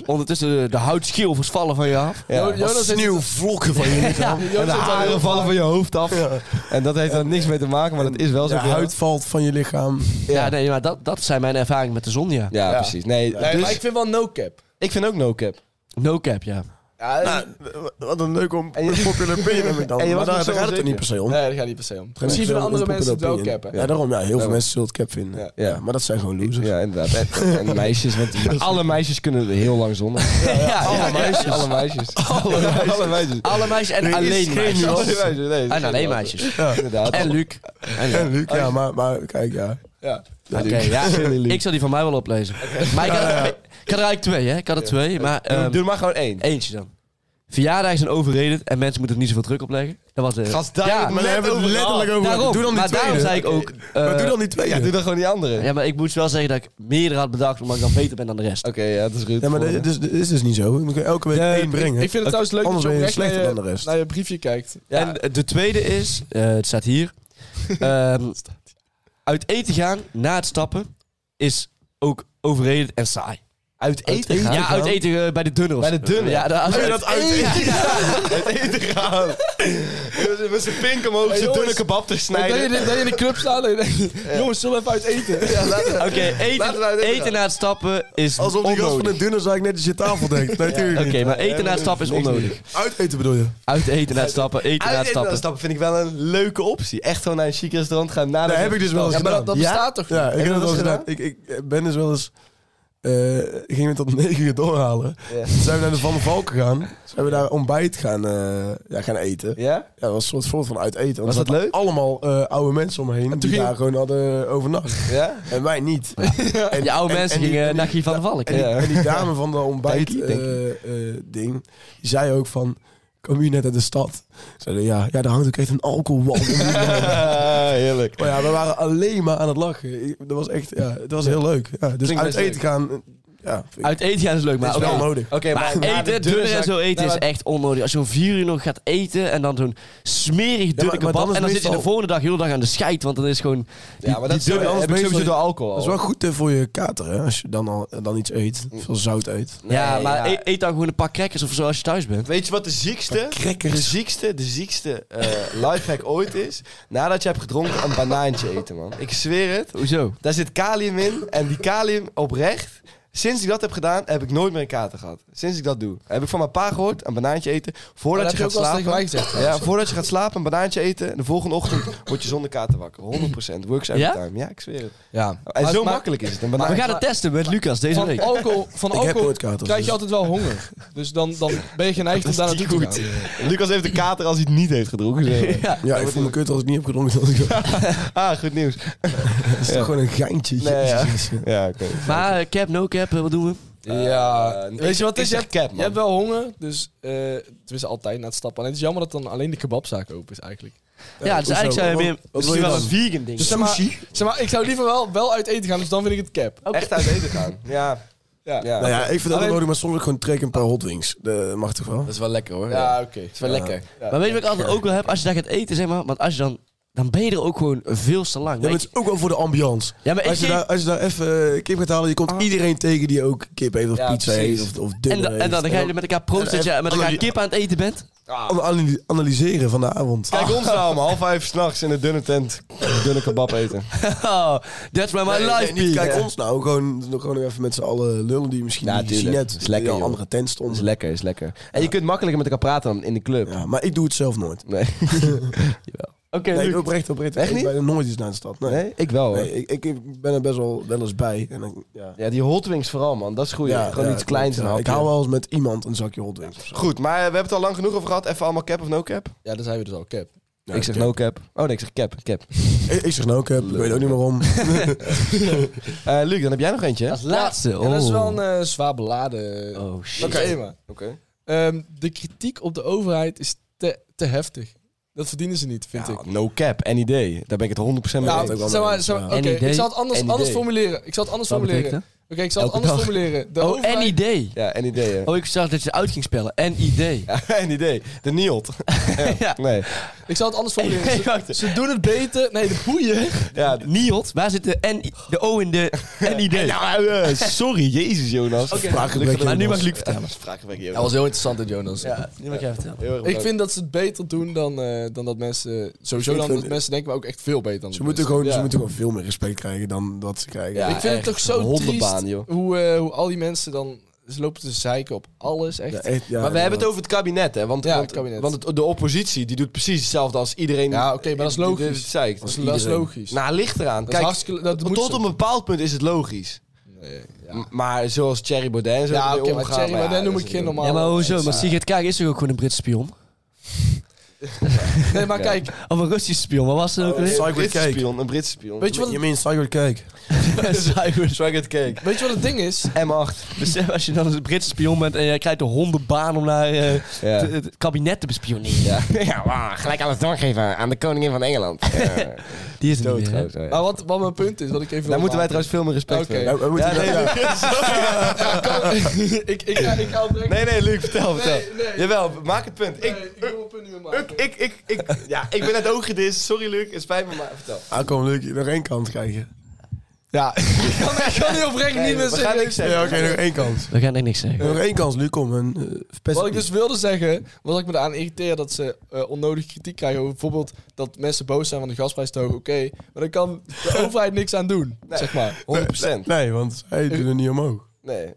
S3: ondertussen de, de houtschilfers vallen van je af.
S2: Ja.
S5: Jo- Jonas heeft-
S2: [LAUGHS]
S4: sneeuwvlokken van je lichaam.
S5: Jonas
S2: En de
S5: heeft daar heel
S2: haren vallen
S5: vaak-
S2: van je hoofd af. En dat heeft daar niks mee te maken, maar dat is wel zo.
S4: De huid valt van je lichaam.
S3: Ja, nee, maar dat, dat zijn mijn ervaringen met de zon, ja.
S2: Ja, precies. Nee,
S5: Nee,
S2: dus
S5: maar ik vind wel no cap.
S2: ik vind ook no cap.
S3: No cap, ja.
S4: Nou, wat een leuk om
S2: En je-
S4: popular opinion heb ik dan.
S2: En je
S4: Maar
S2: was nog zo
S4: daar daar gaat het er
S2: onzeker.
S4: niet per se om.
S5: Nee, dat gaat niet per se om.
S4: Gewoon
S5: Misschien
S4: echt
S5: vinden
S4: wel
S5: andere
S4: een
S5: mensen het wel
S4: popular
S5: cap.
S4: opinion. Ja,
S5: hè.
S4: daarom. Ja, heel veel
S2: Ja.
S4: mensen zullen het cap vinden. Ja,
S2: Ja.
S4: maar dat zijn gewoon losers.
S2: Ja, inderdaad. En, en meisjes, want alle meisjes kunnen heel lang zonnen.
S3: [LAUGHS]
S2: alle, meisjes. alle meisjes. Alle meisjes. Alle meisjes.
S3: Alle meisjes en alleen meisjes.
S2: Alle meisjes. Nee,
S3: En alleen meisjes.
S2: Ja, inderdaad.
S3: En Luc. En Luc.
S4: En Luc, ja, maar, maar kijk, ja.
S5: Ja.
S3: Oké, ja. Ik zal die van mij wel
S2: [LAUGHS]
S3: oplezen. Maar ik had, ik had er eigenlijk twee, hè. Ik had er twee, maar... ehm,
S2: Doe er maar gewoon één.
S3: Eentje dan. Verjaardagen zijn overrated en mensen moeten er niet zoveel druk op leggen. Dat was de...
S2: Gast, daar
S3: Ja,
S2: hebben
S4: Maar daar hebben we het letterlijk over.
S3: Daarom,
S4: doe dan die
S3: maar daarom
S4: tweede.
S3: zei ik ook...
S4: maar
S3: eh,
S4: doe dan die tweede.
S2: Ja, doe dan gewoon die andere.
S3: Ja, maar ik moet wel zeggen dat ik meerdere had bedacht, omdat ik dan beter ben dan de rest.
S2: Oké, ja, dat is goed.
S4: Ja, maar dat is, dat is dus niet zo. Je moet elke week één brengen.
S5: Ik vind het trouwens leuk dat
S4: Anders
S5: je
S4: ben je
S5: oprecht naar
S4: slechter
S5: je,
S4: dan de rest.
S5: naar je briefje kijkt.
S2: Ja.
S3: En de tweede is, eh, het staat
S2: [LAUGHS]
S3: hier. ehm, uit eten gaan na het stappen is ook overrated en saai.
S2: uit eten gaan.
S3: Ja, uit eten eh, bij de dunner. of
S2: Bij de
S3: zo.
S2: dunner.
S3: Ja, daar-
S2: Doe je
S3: uit-
S2: dat uit eten gaan? [LAUGHS] Uit eten gaan. Met zijn pink omhoog, zijn
S5: jongens.
S2: dunne kebab te [LAUGHS]
S5: Dat
S2: snijden.
S5: je, dat je in de club staat en je denkt, jongens, zullen we even uit eten?
S2: Ja, laten we-
S3: Oké,
S2: Laten we
S3: eten,
S2: uit eten
S3: eten
S2: gaan.
S3: na het stappen is
S4: Alsof die gast van
S3: onnodig.
S4: een dunner zag ik net als je tafel denkt. Nee, natuurlijk
S3: Oké,
S4: niet.
S3: maar eten na het stappen is onnodig.
S4: Uiteten bedoel je?
S3: Uit eten na het stappen, eten na
S2: Uit eten gaan
S3: het stappen.
S2: stappen vind ik wel een leuke optie. Echt gewoon naar een chic restaurant gaan. Na
S4: Dat heb ik dus wel eens
S5: Ja, maar
S4: gedaan.
S5: dat, dat
S2: Ja?
S5: bestaat toch niet?
S4: Ja, ik heb dat wel eens
S2: gedaan?
S4: gedaan. Ik, ik ben dus wel eens... eh, ik ging het tot negen uur doorhalen.
S2: Ja.
S4: Toen zijn we naar de Van der Valk gegaan. Zijn we daar ontbijt gaan, eh, ja, gaan eten. Ja,
S2: Ja?
S4: dat was een soort voorbeeld van uit eten. Want
S2: Was
S4: er
S2: dat
S4: zaten Allemaal eh, oude mensen om me heen die
S5: ging-
S4: daar gewoon hadden
S2: [LAUGHS]
S4: overnacht.
S2: Ja?
S4: En wij niet. En,
S3: Die oude
S4: en-
S3: mensen
S4: en die-
S3: gingen
S4: en die-
S3: Nachi van de Valk.
S4: En die,
S2: Ja.
S4: en die dame van de
S2: Denk ik, denk
S4: ontbijtding ding die zei ook van... Kom je net uit de stad? Zeiden ja, ja, daar hangt ook echt een alcoholwal. om die man."
S2: [LAUGHS] heerlijk.
S4: maar Oh ja, we waren alleen maar aan het lachen. Ik- Dat was echt, ja, het was heel leuk. Ja, dus
S2: Klinkt
S4: uit
S2: best
S4: eten
S2: leuk.
S4: gaan, eh, ja, vind ik-
S3: Uit eten gaan is leuk, maar
S4: is wel
S3: oké.
S4: nodig.
S2: Oké,
S3: Maar eten, dunner en zo eten is echt onnodig. Als je om vier uur nog gaat eten en dan zo'n smerig dunne
S4: maar dan
S3: kebab...
S4: is
S3: en dan zit je de
S4: meestal-
S3: volgende dag heel de dag aan de scheid, want dan is gewoon... Die,
S2: Ja, maar dat
S3: die dunne-
S2: heb ik sowieso door alcohol
S4: Dat is wel goed eh, voor je kater, hè? Als je dan, al, eh, dan iets eet, veel zout eet.
S3: Mm. ja, maar e- Eet, dan gewoon een paar crackers of zo als je thuis bent.
S2: Weet je wat de ziekste, de ziekste, de ziekste eh lifehack ooit is? Nadat je hebt gedronken, een banaantje eten, man. Ik zweer het.
S3: Hoezo?
S2: Daar zit kalium in. En die kalium oprecht. Sinds ik dat heb gedaan, heb ik nooit meer een kater gehad. Sinds ik dat doe. Heb ik van mijn pa gehoord, een banaantje eten.
S5: Maar
S2: Voordat
S5: dat
S2: je
S5: heb je
S2: gaat
S5: ook wel eens tegen mij
S2: slapen.
S5: gezegd.
S2: Ja, voordat je gaat slapen, een banaantje eten. En de volgende ochtend word je zonder kater wakker. 100%. Works every
S3: Ja?
S2: time. Ja, ik zweer het.
S5: Ja.
S2: En
S5: Maar-
S2: zo
S5: maar
S2: makkelijk is het. Een
S3: Maar we
S2: banaantje.
S3: gaan het testen met Lucas deze
S5: Van
S3: week.
S5: alcohol, van
S4: Ik heb
S5: alcohol
S4: ooit katers.
S5: krijg je
S4: dus-
S5: altijd wel honger. Dus dan, dan ben je [LAUGHS] geneigd om daar naartoe te gaan.
S2: Lucas heeft een kater als hij het niet heeft gedronken. zeg
S5: [LAUGHS]
S2: maar.
S4: Ja, ik voel me kut als ik niet heb gedronken. Dat
S3: [LAUGHS]
S4: is
S2: Ah, goed nieuws.
S4: toch
S2: Ja.
S4: gewoon een geintje.
S2: Nee, ja.
S4: Jezus.
S2: Ja, oké.
S3: Maar eh, cap, no cap, eh, wat doen we?
S5: Ja, weet je wat
S2: ik
S5: het is? Je
S2: zeg
S5: hebt,
S2: cap, man.
S5: je hebt wel honger, dus eh tenminste altijd na het stappen. Alleen het is jammer dat dan alleen de kebabzaak open is eigenlijk.
S3: Ja, dus
S4: hoezo?
S3: eigenlijk zijn we
S4: Wat-
S3: meer...
S4: wat
S3: Het
S4: wil
S3: is
S4: je
S3: wel
S4: dan?
S3: een vegan ding.
S5: Dus zeg maar, zeg maar, ik zou liever wel, wel uit eten gaan, dus dan vind ik het cap.
S2: Echt uit eten
S5: [LAUGHS]
S2: gaan. Ja. Ja, ja.
S4: Nou ja, ik vind dat wel
S5: Alleen-
S4: nodig, maar soms ook gewoon trek een paar hot wings. Dat mag toch wel?
S5: is wel lekker hoor. Ja, oké. Het is wel lekker.
S3: Maar weet je wat ik altijd ook wel heb? Als je daar gaat eten, zeg maar... Want als je dan... Dan ben je er ook gewoon veel te lang.
S4: Ja, maar
S3: Weet
S4: het is ook wel voor de ambiance.
S3: Ja, maar ik
S4: als, je
S3: geef-
S4: daar, als je daar even eh, kip gaat halen, je komt iedereen tegen die ook kip heeft of
S2: Ja,
S4: pizza
S2: precies.
S4: heeft of, of
S3: je?
S4: dunner
S3: en, dan- en dan
S4: heeft.
S3: ga je met elkaar proosten dat je met elkaar kip aan het eten bent. [LAUGHS]
S4: An- anal- analyseren van de avond.
S2: Kijk ons nou om half vijf s'nachts in de dunne tent dunne kebab eten.
S3: Oh, that's where my
S4: Nee, nee,
S3: life
S4: niet
S3: be.
S4: kijk ons nou, gewoon, gewoon even met z'n allen lullen die misschien
S2: Ja,
S4: niet zien
S2: tuurlijk.
S4: net
S2: Is lekker,
S4: in een
S2: joh.
S4: andere tent
S2: Is
S4: stonden.
S2: lekker, is lekker. En je kunt makkelijker met elkaar praten dan in de club.
S4: Ja, maar ik doe het zelf nooit.
S2: Nee.
S3: Oké,
S4: Nee,
S3: Luc.
S4: oprecht, oprecht.
S2: Echt
S4: Ik
S2: niet?
S4: ben er nooit eens naar de stad. Nee,
S2: nee, Oh. ik wel. hoor.
S4: Nee, ik, ik ben er best wel wel eens bij. En dan, ja.
S2: Ja, die hot wings vooral, man. Dat is goed.
S4: Ja,
S2: Gewoon
S4: ja,
S2: iets kleins.
S4: ja,
S2: en
S4: Ik
S2: hapje.
S4: hou wel eens met iemand een zakje hot wings. of zo.
S2: Goed, maar eh, we hebben het al lang genoeg over gehad. Even allemaal cap of no cap?
S5: Ja, dan zijn we dus al cap.
S4: Ja,
S2: ik zeg
S4: oké.
S2: no cap. Oh nee, ik zeg cap. cap.
S4: Ik, ik zeg nou, ik heb, ik weet ook niet
S2: [LAUGHS]
S4: waarom.
S2: Eh, Luc, dan heb jij nog eentje, hè?
S3: Als laatste.
S5: Ja, dat is
S3: oh.
S5: wel een eh, zwaar beladen
S3: Oh, shit.
S5: Oké. thema.
S2: Oké.
S5: Ehm, de kritiek op de overheid is te, te heftig. Dat verdienen ze niet, vind ik.
S2: Ja, Ah, no cap, any day. Daar ben ik het 100% mee
S5: Nou,
S2: eens.
S4: ook wel
S5: zeg maar,
S4: mee
S5: zeg maar,
S4: eens,
S3: ja.
S5: oké,
S3: Any day,
S5: ik zal het anders,
S2: any
S5: anders
S2: day.
S5: formuleren. Ik zal het anders
S3: Wat betekent
S5: formuleren.
S3: dat?
S5: Oké, ik zal het
S3: Elke
S5: anders
S3: dag.
S5: formuleren. De
S3: Oh,
S5: overheid-
S3: NID.
S2: Ja, any day,
S4: [LAUGHS]
S2: hè.
S3: Oh, ik zag dat je het uit ging spellen. NID.
S2: Ja,
S4: Oh,
S2: any day. De NIOT. [LAUGHS]
S3: [LAUGHS] Ja.
S2: Nee.
S5: Ik zal het anders formuleren.
S2: [LAUGHS]
S3: Hey,
S5: Ze-
S3: wacht.
S5: ze, doen het beter. Nee, de boeien.
S2: Ja,
S3: NIOT. Waar zit de, N de O in de
S2: [LAUGHS]
S3: NID?
S2: Nou, eh, sorry, Jezus Jonas.
S4: Spraakgebrek,
S3: Maar nu
S4: Jonas.
S3: mag Luc vertellen.
S2: Spraakgebrek,
S5: Dat
S2: Jonas.
S5: was heel interessant, dit, Jonas.
S3: Ja, nu mag jij vertellen.
S2: Heel erg
S5: Ik
S2: bedankt.
S5: vind dat ze het beter doen dan, eh, dan dat mensen... Sowieso
S4: Ik
S5: dan
S4: vind-
S5: dat mensen denken, maar ook echt veel beter dan
S4: Ze
S5: de
S4: moeten,
S5: mensen.
S4: gewoon, ze
S2: Ja.
S4: moeten gewoon veel meer respect krijgen dan dat ze krijgen.
S2: Ja,
S5: ik vind
S2: echt.
S5: het toch zo
S2: Hondenbaan,
S5: triest
S2: joh.
S5: Hoe, eh, hoe al die mensen dan... Ze lopen te zeiken op alles, echt.
S4: Ja, echt, ja,
S2: maar we hebben het over het kabinet, hè? Want,
S5: Ja,
S2: want,
S5: het kabinet.
S2: want het- de oppositie die doet precies hetzelfde als iedereen.
S5: Ja, oké, maar dat is
S2: die- die-
S5: logisch.
S2: die- die zeikt.
S5: Dat is, dat is logisch.
S2: Nou, ligt eraan.
S5: dat is
S2: Kijk,
S5: hartstikke- dat moet
S2: tot
S5: zo.
S2: op een bepaald punt is het logisch.
S5: Nee, ja.
S2: M- Maar zoals Thierry Baudet en zo
S5: Ja,
S2: ermee
S5: oké, maar
S2: omgaan,
S5: Thierry
S2: ja,
S5: Baudet noem
S2: dat is
S5: ik geen
S2: een-
S5: normaal-
S3: Ja, maar hoezo? Maar Sigrid Kaag is toch ook gewoon een Britse spion?
S5: Nee, maar
S2: Ja.
S5: kijk,
S3: Of een Russische spion? Wat was het ook
S2: Een
S3: weer? [LAUGHS]
S4: Cyber
S2: Britse
S4: cake.
S2: spion, een Britse spion.
S5: weet je wat
S4: Je
S5: het,
S4: meent Cyber Cake.
S3: Cyber Sugar Cake.
S5: Weet je wat het ding is?
S2: M8.
S5: [LAUGHS]
S3: Besef Dus, eh, als je dan een Britse spion bent en jij krijgt de hondenbaan om naar eh,
S2: Ja.
S3: het- het kabinet te bespioneren.
S2: Ja, ja wauw, gelijk alles doorgeven aan de koningin van Engeland.
S6: [LAUGHS]
S2: Ja.
S3: Die is
S2: Dood
S3: niet meer, hè?
S2: trouwens, ja.
S5: Maar wat, wat mijn punt is, wat ik even... wil
S2: Daar moeten wij trouwens
S5: maken.
S2: veel meer respect
S5: Oké.
S2: voor hebben.
S4: Ja, we moeten-
S2: Ja, nee,
S4: ja.
S5: Ja, kan- [LAUGHS] ik, ik, ga, ik ga opbrengen.
S2: Nee, nee, Luc, vertel,
S5: Nee,
S2: vertel.
S5: nee.
S2: Jawel, maak het punt.
S5: Nee,
S2: Ik,
S5: ik wil een punt niet meer
S2: ik,
S5: maken.
S2: ik, ik, ik- ja, ik ben net ook gedist. Sorry, Luc, het spijt me, maar vertel.
S4: Ah, kom, leuk. Nog één kans krijgen.
S5: [LAUGHS] Ja, ik kan, ik kan die opbrengen
S2: Nee,
S5: niet
S2: we
S5: meer
S2: gaan
S5: zeggen.
S2: niks
S4: Ja,
S2: zeggen.
S4: oké, nog één kans.
S3: We gaan echt niks zeggen.
S4: Nog één kans, nu kom. En, eh, verpest
S5: Wat Eh, ik
S4: het
S5: dus wilde zeggen, was dat ik me eraan irriteer dat ze eh, onnodige kritiek krijgen. over Bijvoorbeeld dat mensen boos zijn van de gasprijs te hoog. Oké, maar daar kan de overheid niks aan doen, zeg maar.
S2: 100
S4: niet. Nee, want hij doet het niet omhoog.
S2: Nee.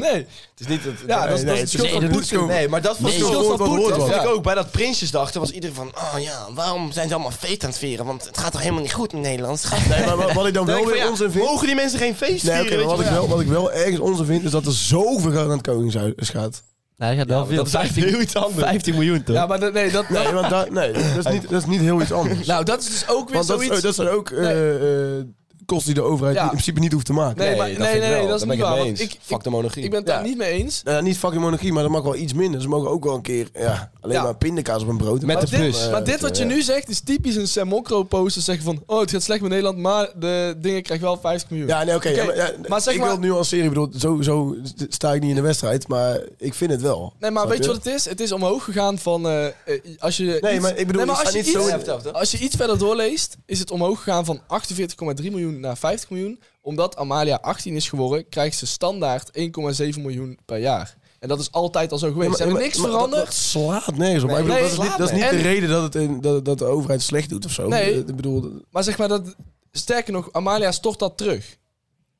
S5: Nee,
S2: [LAUGHS] Het is niet het.
S5: ja, Ah, dat is, dat is het schuld van Poetin.
S2: Nee, maar dat vond
S4: Nee,
S2: ik,
S4: schuld van
S2: dat vond ik-
S4: Poetin.
S2: dat vond ik
S5: Ja.
S2: ook. Bij dat Prinsjesdag, toen was iedereen van... Oh ja, waarom zijn ze allemaal feest aan het vieren? Want het gaat toch helemaal niet goed in Nederland? Het [LAUGHS] gaat-
S4: Nee, maar wat- wat ik dan
S2: Dan
S4: wel
S2: denk ik
S4: weer
S2: van, ja,
S4: onzin vind...
S2: Mogen die mensen geen feest
S4: Nee,
S2: vieren?
S4: oké, maar
S2: weet
S4: wat,
S2: je
S4: ik
S2: wel?
S4: wel, wat ik wel ergens onzin vind, is dat er zoveel geld naar het Koningshuis gaat.
S3: Nou, dat gaat wel veel.
S2: dat is eigenlijk heel iets anders.
S3: 15 miljoen toch?
S5: Ja, maar dat, nee, dat,
S4: Nee, want daar, nee dat, is niet, dat is niet heel iets anders.
S5: nou, dat is dus ook weer
S4: Want dat, is-
S5: zoiets...
S4: dat zijn ook eh, eh, kosten die de overheid
S5: Ja.
S4: in principe niet hoeft te maken.
S5: Nee, maar- nee, nee, nee, dat is niet waar. want Ik, ik,
S2: de monarchie.
S5: ik ben het daar niet mee eens.
S4: Nou, niet fucking monarchie, maar dat mag wel iets minder. Ze mogen ook wel een keer ja, alleen
S5: Ja.
S4: maar pindakaas op een brood.
S2: Met
S4: Maar
S2: de
S4: dit-
S5: Maar dit,
S2: plus.
S4: eh,
S5: maar dit wat je
S2: ja.
S5: nu zegt is typisch een Sam Mokro poster zeggen van... Oh, het gaat slecht met Nederland, maar de dingen krijgen wel 50 miljoen.
S4: Ja, nee, oké.
S5: Oké,
S4: ja, maar, ja,
S5: maar zeg
S4: ik
S5: maar-
S4: wil het nuanceren. Ik bedoel, zo, zo sta ik niet in de wedstrijd, maar ik vind het wel.
S5: Nee, maar
S4: Snap
S5: weet je wat het is? Het is omhoog gegaan van... eh, eh, als je
S4: Nee,
S5: iets-
S4: maar ik bedoel,
S5: Nee, maar
S4: ik sta
S5: als je
S4: niet zo...
S5: iets-
S4: in-
S5: Als je iets verder doorleest, is het omhoog gegaan van 48,3 miljoen naar 50 miljoen. Omdat Amalia 18 is geworden, krijgt ze standaard 1,7 miljoen per jaar. En dat is altijd al zo geweest.
S4: maar-
S5: Ze hebben
S4: maar-
S5: niks
S4: maar dat-
S5: veranderd.
S4: dat slaat nergens op. Maar ik bedoel,
S5: Nee,
S4: dat is niet,
S5: slaat
S4: dat is niet de
S5: nergens.
S4: reden dat, het in, dat, dat de overheid slecht doet of zo.
S5: Nee.
S4: Ik bedoel,
S5: Maar zeg maar, dat, sterker nog, Amalia stort dat terug.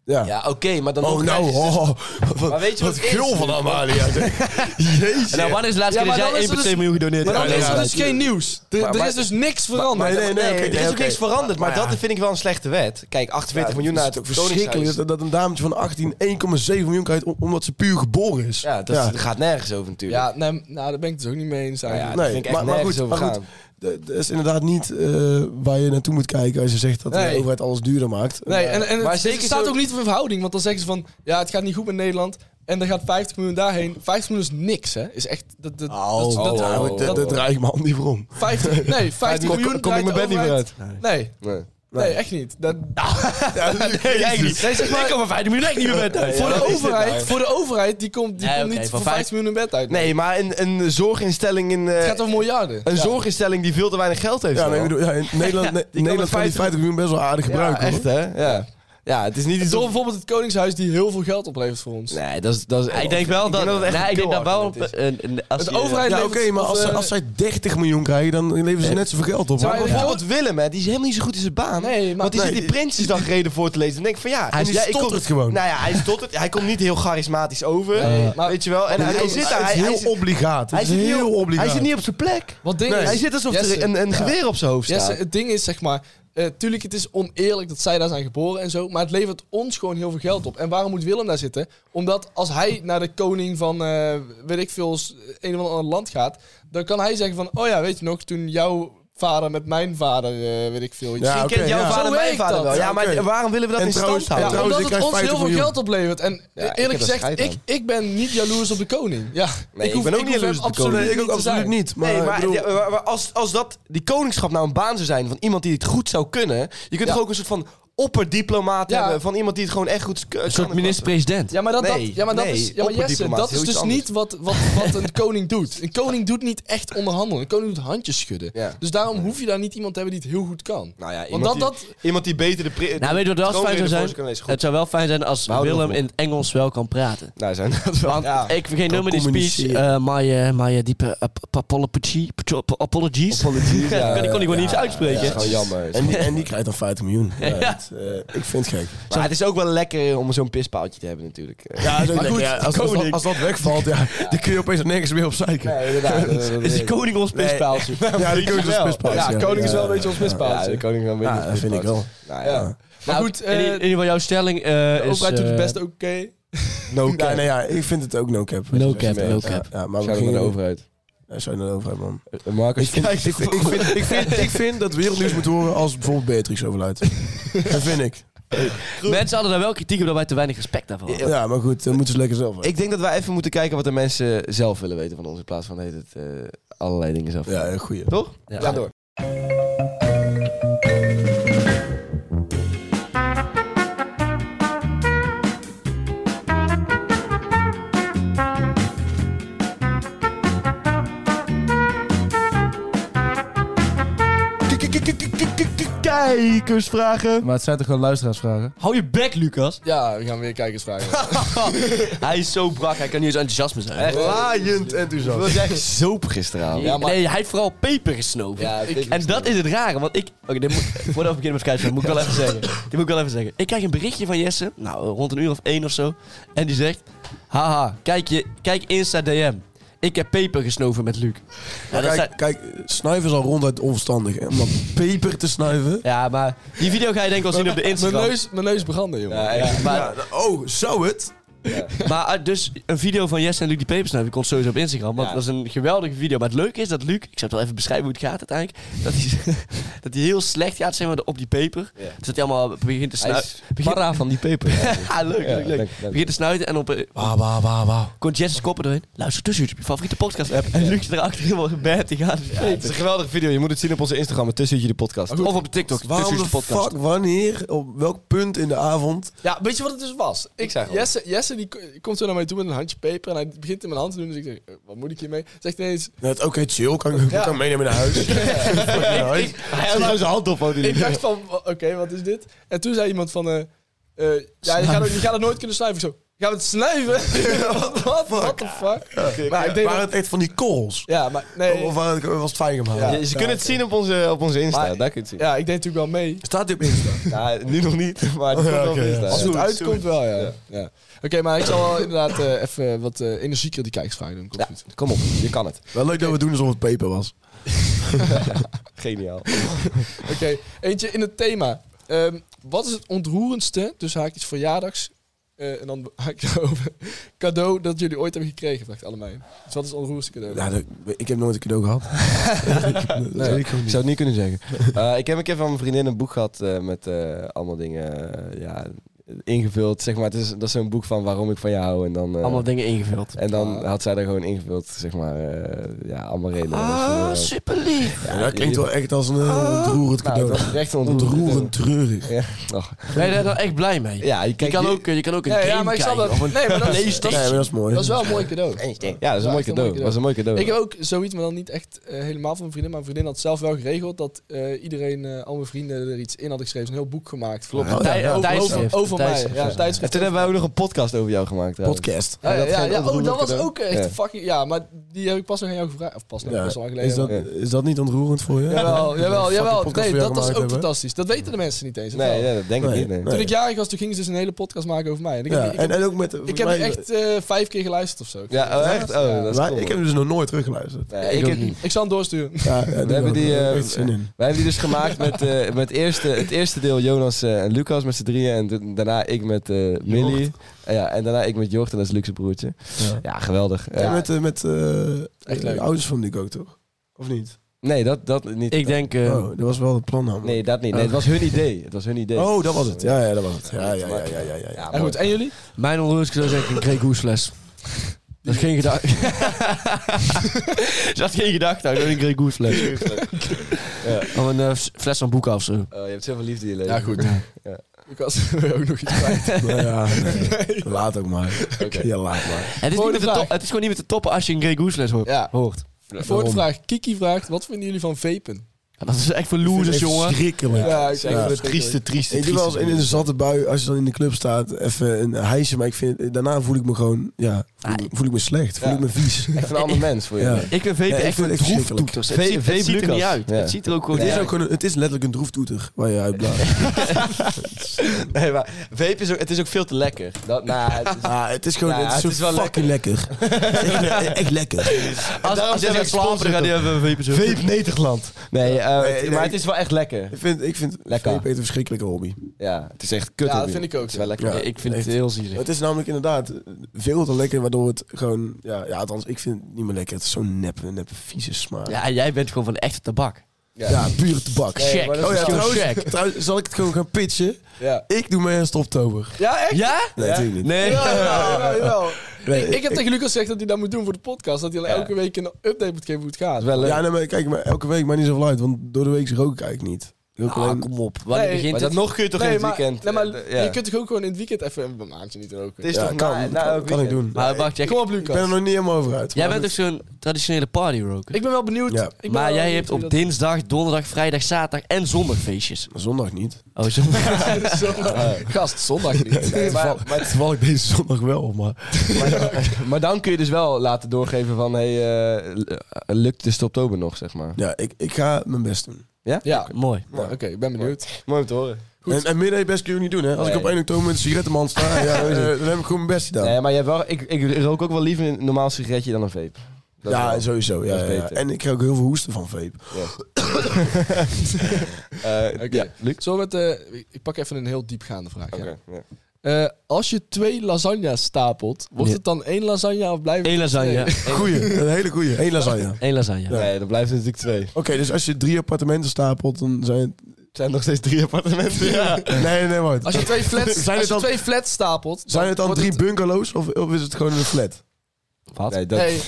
S4: ja.
S2: Ja, oké, maar dan...
S4: Oh,
S2: nog krijg
S4: nou,
S2: je dus-
S4: oh, wat,
S2: Maar weet je
S4: wat
S2: wat het is?
S4: gul van Amalia. Jezus.
S3: Nou, wanneer is de laatste
S5: Ja,
S3: keer
S5: maar
S3: dat
S5: dan
S3: jij
S5: is
S3: 1,2
S5: er dus-
S3: miljoen gedoneerd
S5: Maar
S3: hebt?
S5: dan is er
S4: ja,
S5: dus geen nieuws. Er, er
S2: maar-
S5: is dus niks veranderd.
S4: maar- nee, nee, oké,
S2: er is ook
S4: oké.
S2: niks veranderd, maar,
S4: Maar ja.
S2: dat vind ik wel een slechte wet. Kijk, 48 miljoen naar het
S4: ook verschrikkelijk
S2: koningshuis.
S4: dat, dat een dametje van 18 1,7 miljoen krijgt om- omdat ze puur geboren is.
S2: Ja, dat dat gaat nergens over natuurlijk.
S5: Ja, nee, nou, daar ben ik het dus ook niet mee eens
S2: Nou ja,
S5: eigenlijk.
S2: daar
S4: Nee,
S2: vind ik echt
S4: maar- maar
S2: nergens
S4: goed,
S2: over
S4: maar
S2: gaan.
S4: Dat dat is inderdaad niet eh, waar je naartoe moet kijken als je zegt dat de
S5: Nee.
S4: overheid alles duurder maakt.
S5: Nee, en, en
S2: Maar
S5: het,
S2: zeker
S5: het staat
S2: zo-
S5: ook niet in verhouding. Want dan zeggen ze van, ja, het gaat niet goed met Nederland. En dan gaat 50 miljoen daarheen. 50 miljoen is niks, hè. Is echt... Dat, dat, dat,
S4: Oh,
S5: dat-
S4: nou,
S2: oh,
S4: dat-
S2: oh.
S4: dat draai ik mijn hand niet voor om.
S2: [LAUGHS]
S5: 50, nee, 50 miljoen draait de overheid- Nee,
S2: Nee.
S5: nee, echt niet. Dat,
S3: Nee, jij niet.
S5: Nee, zeg maar-
S3: Ik kom maar 15 miljoen echt niet meer met uit.
S5: voor,
S2: dat
S5: de
S2: is dit
S5: overheid,
S2: nou?
S5: voor de overheid, die komt, die
S3: Nee,
S5: komt
S3: oké,
S5: niet
S3: van
S5: voor 50
S3: vijf-
S5: miljoen in bed uit.
S2: Nee, maar een, een zorginstelling in... eh,
S5: Het gaat om miljarden.
S2: een
S5: Ja.
S2: zorginstelling die veel te weinig geld heeft.
S4: Ja, nee, ik
S2: al.
S4: bedoel, ja,
S2: [LAUGHS]
S4: in Nederland, ne-
S2: die
S4: Nederland kan die
S2: 50
S4: 50 miljoen best wel aardig gebruiken.
S2: Ja,
S4: hoor.
S2: echt hè? Ja. ja, het is niet iets...
S5: Door
S2: om-
S5: bijvoorbeeld het Koningshuis die heel veel geld oplevert voor ons.
S2: Nee, dat is... Dat is
S3: Ik denk wel dat...
S2: het echt
S3: Nee,
S2: een
S3: ik denk dat wel...
S2: argument is.
S3: een- een- als
S5: De
S3: je-
S5: overheid
S4: Ja, oké,
S5: levert-
S4: maar
S2: dus,
S5: of,
S4: als, ze-
S5: eh,
S4: als zij 30 miljoen krijgen, dan leveren ze net zoveel geld op.
S5: Zou
S4: hoor.
S5: je-
S2: Bijvoorbeeld Willem, hè, die is helemaal niet zo goed in zijn baan.
S5: Nee, maar-
S2: want die
S5: nee.
S2: zit die Prinsjesdagreden voor te lezen. Dan denk ik van ja,
S4: Hij
S2: en ja, ik
S4: stottert
S2: kom-
S4: gewoon.
S2: Nou ja, hij stottert. Hij komt niet heel charismatisch over. eh,
S5: Nee, maar-
S2: weet je wel. En
S4: Ja,
S2: hij,
S4: het
S2: hij
S4: is-
S2: zit daar.
S4: het
S2: Hij,
S4: is
S2: hij
S4: heel
S2: zit-
S4: obligaat. Het
S2: hij
S4: is
S2: zit niet
S4: heel
S2: op-
S4: obligaat.
S2: Hij zit niet op zijn plek.
S5: Wat ding is,
S2: Hij zit alsof
S5: Jesse,
S2: er een, een geweer op zijn hoofd staat.
S5: Jesse, het ding is zeg maar, eh, tuurlijk het is oneerlijk dat zij daar zijn geboren en zo, maar het levert ons gewoon heel veel geld op. En waarom moet Willem daar zitten? Omdat als hij naar de koning van, eh, weet ik veel, s- een of ander land gaat, dan kan hij zeggen van, oh ja, weet je nog, toen jouw vader met mijn vader, eh, weet ik veel, iets.
S4: Ja,
S2: Misschien
S4: oké,
S2: kent jouw
S4: ja.
S2: vader
S5: Zo
S2: mijn
S5: werkt
S2: vader
S5: dat.
S2: wel. Ja,
S4: Ja,
S2: maar
S4: oké.
S2: waarom willen we dat
S4: En
S2: in stand
S4: trouwens-
S5: Ja,
S2: houden?
S4: trouwens,
S5: omdat
S4: ik
S5: het
S4: krijg
S5: ons
S4: 50
S5: heel veel
S4: miljoen.
S5: geld oplevert. En eh,
S2: ik heb
S5: eerlijk
S2: er
S5: gezegd,
S2: scheid
S5: ik,
S2: aan.
S5: ik ben niet jaloers op de koning. Ja,
S2: Nee, ik ben ook niet
S5: hoef hem
S2: jaloers op de
S5: absoluut
S2: koning.
S4: Nee, ik ook
S5: te
S4: absoluut
S5: zijn.
S4: niet. Maar,
S2: nee,
S5: eh,
S2: maar,
S4: ik bedoel,
S2: ja, maar- maar als, als dat, die koningschap nou een baan zou zijn van iemand die het goed zou kunnen. Je kunt toch ook een soort van opperdiplomaat
S5: Ja.
S2: hebben van iemand die het gewoon echt goed eh, kan.
S3: Een soort minister-president.
S5: Ja, maar dat,
S2: Nee,
S5: dat, ja, maar dat
S2: nee,
S5: is, ja, maar Jesse,
S2: opperdiplomaat
S5: dat
S2: is
S5: is
S2: heel
S5: dus
S2: iets anders.
S5: niet wat, wat, wat
S2: [LAUGHS]
S5: een koning doet. Een koning doet niet echt onderhandelen. Een koning doet handjes schudden.
S2: Ja.
S5: Dus daarom hoef je daar niet iemand te hebben die het heel goed kan.
S2: Nou ja,
S5: Want
S2: iemand,
S5: dat,
S2: die,
S5: dat,
S2: iemand die beter de... pri-
S3: Nou, weet je wat
S2: de
S3: wel fijn zou
S2: troonrede voor
S3: zijn?
S2: zich kan lezen. Goed.
S3: Het zou wel fijn zijn als
S2: houden
S3: Willem
S2: ervan
S3: in het Engels wel kan praten.
S2: Nou, zijn dat wel.
S3: Want
S2: Ja.
S3: ik vergeet nummer die speech.
S4: communiceren.
S3: eh my, eh, my diepe apology, apologies.
S2: Apologies, Dus ja,
S3: ik kon die gewoon
S2: ja,
S3: niet eens uitspreken.
S2: Dat is gewoon jammer.
S4: en, die, en die krijgt dan 50
S2: [LAUGHS]
S4: miljoen. Ja, dat, eh, ik vind het gek.
S2: Maar het is ook wel lekker om zo'n pispaaltje te hebben natuurlijk.
S4: Ja,
S5: Maar goed,
S4: als, als,
S5: koning.
S4: als dat wegvalt, ja, dan kun je opeens nergens meer op zeiken.
S2: Nee, inderdaad. dat
S3: Is de
S2: weet ik.
S3: koning ons pispaaltje?
S4: Ja, die koning is
S2: wel.
S4: een pispaaltje,
S5: ja, koning is wel een beetje ons
S2: Ja,
S5: mispaaltje.
S2: de koning wel minder.
S4: Ja, dat vind ik wel.
S2: Nou
S5: Ja.
S2: ja.
S5: Maar
S3: Nou,
S5: goed,
S3: in, i- in
S5: eh,
S3: ieder geval jouw stelling eh,
S5: de
S3: is...
S5: overheid doet het
S3: eh, [LAUGHS]
S5: best oké.
S2: No
S4: Ja, nee, ja, ik vind het ook no cap.
S3: No
S4: Ja,
S3: cap, no
S4: ja,
S3: cap.
S4: Ja, maar
S2: Shout-out naar
S4: we
S2: de
S4: gingen over.
S2: overheid.
S4: Zou je naar de overheid, man.
S2: Eh, Marcus,
S4: Ik vind, ik, [LAUGHS]
S3: [LAUGHS]
S4: vind, ik, vind, ik, vind, ik vind dat wereldnieuws moet horen als bijvoorbeeld Beatrix overlijdt. Dat vind ik.
S3: Mensen hadden daar wel kritiek op dat wij te weinig respect daarvoor hadden.
S4: Ja, maar goed, dan moeten ze lekker zelf.
S2: Ik denk dat wij even moeten kijken wat de mensen zelf willen weten van ons. In plaats van heet het, eh, allerlei dingen zelf.
S4: Ja, een goeie.
S2: Toch?
S3: Ja.
S2: Ga door. Kijkersvragen.
S7: Maar het zijn toch gewoon luisteraarsvragen?
S3: Hou je bek, Lucas.
S5: Ja, we gaan weer kijkers vragen.
S3: [LAUGHS] hij is zo brak, hij kan niet eens enthousiasme zijn.
S2: Laaiend enthousiast. Was [LAUGHS] jij zoop gisteravond?
S5: Ja, maar-
S3: Nee, hij heeft vooral peper gesnoven.
S5: Ja,
S3: Ik-
S5: peper
S3: en dat is het rare, want ik... Oké, dit moet- voordat we beginnen met kijken, moet ik wel even zeggen. Dit moet ik wel even zeggen. Ik krijg een berichtje van Jesse, nou, rond een uur of één of zo. En die zegt, haha, kijk, je, kijk Insta DM. Ik heb peper gesnoven met Luc. Ja, dat zijn-
S4: Kijk, kijk, snuiven is al ronduit onverstandig. Hè? Om [LAUGHS] dan peper te snuiven.
S3: ja, maar die video ga je denk ik wel zien op de
S5: Mijn
S3: Instagram.
S5: neus, mijn neus brandde, jongen.
S3: Ja, echt. maar,
S4: Ja, oh, zou het?
S3: maar ah, dus een video van Jesse en Luc die peper snuiven komt sowieso op Instagram. Want
S2: Ja.
S3: dat is een geweldige video. Maar het leuke is dat Luc, ik zal het wel even beschrijven hoe het gaat uiteindelijk. Dat hij, [LAUGHS] dat hij heel slecht gaat zeg maar, op die peper.
S2: Ja.
S3: Dus dat hij allemaal begint te
S2: Hij
S3: snuiven.
S2: is para van die
S3: [LAUGHS]
S2: peper. Ja,
S3: Ah, leuk, leuk, leuk.
S2: dank- dank.
S3: Begint te snuiten en op... eh,
S4: Wauw, wauw, wauw, wauw.
S3: komt Jesse's koppen erin. Luister tussen op je favoriete podcast-app. En Luc erachter helemaal gebed. Die gaat
S2: Het is een geweldige video. Je moet het zien op onze Instagram. Het tussentje de podcast.
S3: Of op TikTok.
S4: Waarom
S3: Tussen
S4: de
S3: de podcast.
S4: fuck, wanneer, op welk punt in de avond?
S5: Ja, weet je wat het dus was? Ik
S2: zeg al.
S5: Jesse, Jesse die ko- komt zo naar mij toe met een handje peper en hij begint in mijn hand te doen. Dus ik zeg, eh, wat moet ik hiermee?
S2: [LAUGHS]
S5: Zegt ineens,
S4: Net, Oké, chill, kan ik kan ik meenemen naar
S5: [LAUGHS]
S4: huis.
S2: Hij had nou zijn hand op. hoor, die
S5: ik dacht van, wa- oké, wat is dit? En toen zei iemand van, eh, eh, ja, je gaat, het- je gaat het nooit kunnen snuiven. Ik zo, gaan we het
S2: [LAUGHS]
S5: snuiven? [LAUGHS] wat, wat, what the fuck? Maar ik denk
S4: Waren
S5: dat-
S4: het echt van die korrels?
S5: ja, maar nee.
S4: Of waren het- was het fijn gemaakt?
S2: Ja, ze kunnen het zien op onze, op onze Insta.
S5: Maar-
S2: daar kun je het zien.
S5: Ja, ik deed natuurlijk wel mee.
S4: Staat die op Insta?
S2: Nou, nu nog niet, maar het komt wel op
S4: oké, ja.
S2: Insta.
S5: Als het
S4: Zoet,
S5: uitkomt wel, ja. ja. Oké, maar ik zal wel inderdaad eh, even wat eh, energieker die kijksvragen doen. Komt goed.
S2: Kom op, je kan het.
S4: Wel leuk dat we doen alsof het peper was.
S2: Geniaal.
S5: Oké, eentje in het thema. Ehm, wat is het ontroerendste, dus haakjes verjaardags, eh, en dan haak ik over, [LAUGHS] cadeau dat jullie ooit hebben gekregen, vraagt allebei. Dus wat is het ontroerendste cadeau?
S4: Ja, dat- ik heb nooit een cadeau
S5: [LAUGHS]
S4: gehad.
S2: Nee, ik zou het niet kunnen zeggen. Eh, ik heb een keer van mijn vriendin een boek gehad eh, met eh, allemaal dingen eh, ja, ingevuld. Zeg maar, het is, dat is zo'n boek van waarom ik van jou hou. En dan, eh,
S3: Allemaal dingen ingevuld.
S2: en dan had zij daar gewoon ingevuld, zeg maar, eh, ja, allemaal redenen.
S3: Ah,
S2: Dus, eh,
S3: super lief.
S4: Ja, dat klinkt wel echt als een
S5: Ah.
S4: eh, ontroerend
S2: nou,
S4: cadeau.
S2: dat is echt een
S4: Ontroerend treurig.
S2: Ja, ach.
S3: Ben je daar nou echt blij mee?
S2: ja, je,
S3: Je
S2: kijkt
S3: kan
S2: hier-
S3: ook, eh, je kan ook een
S5: Ja,
S3: game
S5: ja, maar ik zal
S3: kijken
S5: dat-
S3: of een
S5: nee, maar dat is-
S3: Playstation.
S4: Nee, maar dat is mooi.
S5: Dat is wel een mooi cadeau.
S2: Ja, dat is een mooi
S5: echt een mooi
S2: cadeau.
S5: cadeau.
S2: Dat is een mooi cadeau.
S5: Ik heb ook zoiets, maar dan niet echt eh, helemaal van mijn vriendin. Maar mijn vriendin had zelf wel geregeld dat eh, iedereen, eh, al mijn vrienden er iets in hadden geschreven. Een heel boek gemaakt. Klopt.
S3: Een tij- een
S5: over,
S3: tijdschrift.
S5: over
S3: Een
S5: mij.
S3: tijdschrift,
S5: Ja,
S3: ja.
S5: een
S2: En
S5: tijdschrift.
S2: toen hebben wij ook nog een podcast over jou gemaakt. trouwens.
S4: Podcast.
S5: Ja, ja,
S2: dat
S5: ja,
S2: ging
S5: ja.
S2: over
S5: Oh,
S2: de
S5: dat was
S2: cadeau.
S5: ook echt
S2: Ja.
S5: een fucking... Ja, maar die heb ik pas nog aan jou gevraagd. Of pas nog,
S4: Ja.
S5: pas wel geleden.
S4: Is dat, is dat niet ontroerend voor je? [LAUGHS]
S5: Jawel, jawel,
S4: Fucking
S5: jawel.
S4: podcast
S5: Nee,
S4: voor jou
S5: dat was ook
S4: gemaakt hebben.
S5: fantastisch. Dat weten de mensen niet eens. of wel?
S2: Nee, nee, dat denk ik
S4: Nee,
S2: niet. nee.
S4: nee.
S5: Toen ik jarig was, toen gingen ze dus een hele podcast maken over mij. En ik,
S4: Ja,
S5: heb, ik,
S4: en, en ook met...
S5: ik heb die echt eh, vijf keer geluisterd of zo.
S2: Ja, oh, echt? Oh, dat is
S4: Wij-
S2: cool.
S4: ik heb dus nog nooit teruggeluisterd.
S2: Nee,
S3: Ik
S2: ik
S3: ook
S2: heb-
S3: niet.
S5: Ik zal hem doorsturen.
S4: Ja, ja, doe
S2: We hebben
S4: dat.
S2: die,
S4: Ik heb
S2: eh,
S4: echt zin in.
S2: Wij hebben die dus gemaakt met, eh, met eerste, het eerste deel Jonas eh, en Lucas met z'n drieën. En da- daarna ik met eh Millie. Eh, ja, en daarna ik met Jort en dat is Luxe broertje.
S4: Ja.
S2: Ja, geweldig. Eh,
S4: En met, eh, met eh,
S5: Echt leuk.
S4: de ouders van Nick ook, toch? Of niet?
S2: Nee, dat, dat niet.
S3: Ik denk... eh,
S4: oh, dat was wel het plan namelijk.
S2: Nee, dat niet. Nee, het was hun idee. Het was hun idee.
S4: Oh, dat was het. Ja, ja, dat was het. Ja, ja, ja, ja, ja. ja,
S2: Ja,
S5: En goed, en jullie?
S3: Mijn onrust zou zeggen, ik kreeg [LAUGHS] hoesles. Dat is geen [LAUGHS] gedachte. Ze had geen gedachte aan, een kreeg hoesles. Of een eh, fles van boeken of zo.
S2: Oh, je hebt zoveel liefde in je leven.
S5: Ja, goed.
S2: Ja. [LAUGHS]
S5: Ik was ook nog iets kwijt.
S4: Nou ja, [LAUGHS] nee. Laat ook maar. Ja, laat maar.
S3: Het is, niet
S5: Volgende
S3: met de
S5: vraag.
S3: top- het is gewoon niet met de toppen als je een Grey Goose hoort.
S5: Ja.
S3: hoort.
S5: Voor de vraag, Kiki vraagt, wat vinden jullie van vapen?
S3: Ja, dat is echt voor losers, jongen.
S4: Schrikkelijk.
S5: ik
S4: Ja.
S5: het trieste.
S2: trieste,
S4: Ik doe wel eens in een zatte bui, als je dan in de club staat, even een hijsje. Maar ik vind, daarna voel ik me gewoon, ja, voel, voel ik me slecht. Voel
S2: Ja.
S4: ik me vies.
S2: Echt een ander mens voor je.
S4: Ja.
S3: Ik vind vape
S4: Ja, ik
S3: echt
S4: vind
S3: een
S4: het echt verschrikkelijk.
S3: droeftoeters. Het,
S2: Vape-
S3: ziet- het
S2: vape
S3: ziet er
S2: Lucas.
S3: niet uit.
S2: Ja.
S3: Het ziet er ook gewoon
S4: Het, is
S3: niet
S4: ook gewoon een- het is letterlijk een droeftoeter waar je uitblaast.
S2: Nee, maar vape is ook, het is ook veel te lekker. Dat, nou, het is-
S4: Ah, het is gewoon
S2: Ja,
S4: het is
S2: het
S4: zo
S2: is wel
S4: fucking lekker. echt, echt lekker.
S3: uit. Als, als jij gaat slapen, dan gaat hij even vapen zo.
S2: Nederland. Nee, eh,
S4: Nee,
S2: het-
S4: nee.
S2: maar het is wel echt lekker.
S4: Ik vind, ik vind
S2: Lekker.
S4: vape echt een verschrikkelijke hobby.
S2: Ja, het is echt kut.
S5: Ja, dat
S2: hobby.
S5: vind ik ook,
S2: Het is wel
S5: ja.
S2: lekker.
S4: Ja.
S3: Ik vind het heel zielig.
S4: Het is namelijk inderdaad veel te lekker, waardoor het gewoon... Ja, ja althans, ik vind het niet meer lekker. Het is zo'n neppe, neppe, vieze smaak.
S3: Ja, jij bent gewoon van de echte tabak.
S4: Ja, pure tabak.
S5: Nee,
S3: Check.
S5: maar dat
S4: Oh
S5: is
S4: ja,
S5: gewoon
S4: trouwens,
S5: check.
S4: trouwens, zal ik het gewoon gaan pitchen?
S5: Ja.
S4: Ik doe mee aan Stoptober.
S5: Ja, echt?
S3: Ja?
S4: Nee, natuurlijk niet.
S3: Nee.
S5: Ja, ja, ja, jawel.
S4: Nee,
S5: Ik heb tegen Lucas gezegd dat hij dat moet doen voor de podcast. Dat hij elke week een update moet geven hoe het gaat.
S2: wel leuk.
S4: Ja, nee, maar kijk, maar elke week maakt niet zoveel uit, want door de week rook ik eigenlijk niet. Ik rook alleen-
S3: kom op. Wanneer
S5: Nee,
S3: begint
S2: maar dat
S3: het?
S2: nog kun je toch in het
S5: maar,
S2: weekend...
S5: nee, maar
S2: eh, ja.
S5: je kunt toch ook gewoon in het weekend even een maandje niet roken?
S2: Het is
S4: Ja,
S2: toch
S4: kan,
S2: na, na
S4: kan-
S2: elk
S4: kan ik doen.
S2: weekend.
S3: Maar wacht, jij,
S5: Kom op,
S4: Ik ben er
S5: Lucas.
S4: nog niet helemaal over uit.
S3: jij
S4: maar
S3: bent toch
S4: goed.
S3: zo'n traditionele partyroker?
S5: Ik ben wel benieuwd.
S4: Ja.
S5: Ik ben
S3: Maar
S5: wel
S3: jij
S5: benieuwd
S3: hebt
S5: hoe
S3: op
S5: dat-
S3: dinsdag, donderdag, vrijdag, zaterdag en zondag feestjes.
S4: Zondag niet.
S3: Oh, zo.
S5: Gast, zondag niet.
S2: Nee, maar, maar,
S4: Maar toevallig deze zondag wel, maar...
S2: maar- maar dan kun je dus wel laten doorgeven van... Hey, eh, l- eh, lukt de stoptober nog, zeg maar.
S4: Ja, ik, ik ga mijn best doen.
S5: Ja,
S3: [LAUGHS] Mooi.
S5: nou, oké, ik ben benieuwd.
S2: Mooi om te horen.
S4: En, en midden best kun je ook niet doen, hè? Als ik
S2: Nee.
S4: op 1 oktober met een sigarettenman sta, ja, eh, dan heb ik gewoon mijn best gedaan.
S2: Nee, maar je hebt wel, ik, ik rook ook wel liever een normaal sigaretje dan een vape. Dat
S4: ja,
S2: wel.
S4: sowieso. Ja,
S2: Dat is
S4: ja, ja.
S2: beter.
S4: En ik krijg ook heel veel hoesten van vape.
S2: [LAUGHS] Eh,
S5: Oké.
S2: ja, Luc?
S5: Zo met, eh, ik- ik pak even een heel diepgaande vraag. ja.
S2: Oké, ja.
S5: Eh, als je twee lasagna's stapelt, wordt
S3: Ja.
S5: het dan één lasagne of blijft
S3: Eén lasagne.
S4: Goeie, [LAUGHS] een hele goeie. Eén lasagne. Oké,
S3: Eén lasagne.
S2: Nee, dan blijft er natuurlijk twee.
S4: dus als je drie appartementen stapelt, dan zijn het...
S2: Er zijn nog steeds drie appartementen. Ja.
S4: Nee, nee, wacht.
S5: Als je twee flats,
S4: Zijn
S5: als
S4: het
S5: je
S4: dan-
S5: twee flats stapelt...
S4: Zijn het dan
S5: wordt
S4: drie bungalows of, of is het gewoon een flat?
S3: Wat?
S2: [LAUGHS] Nee, dat, [LAUGHS]
S5: Nee,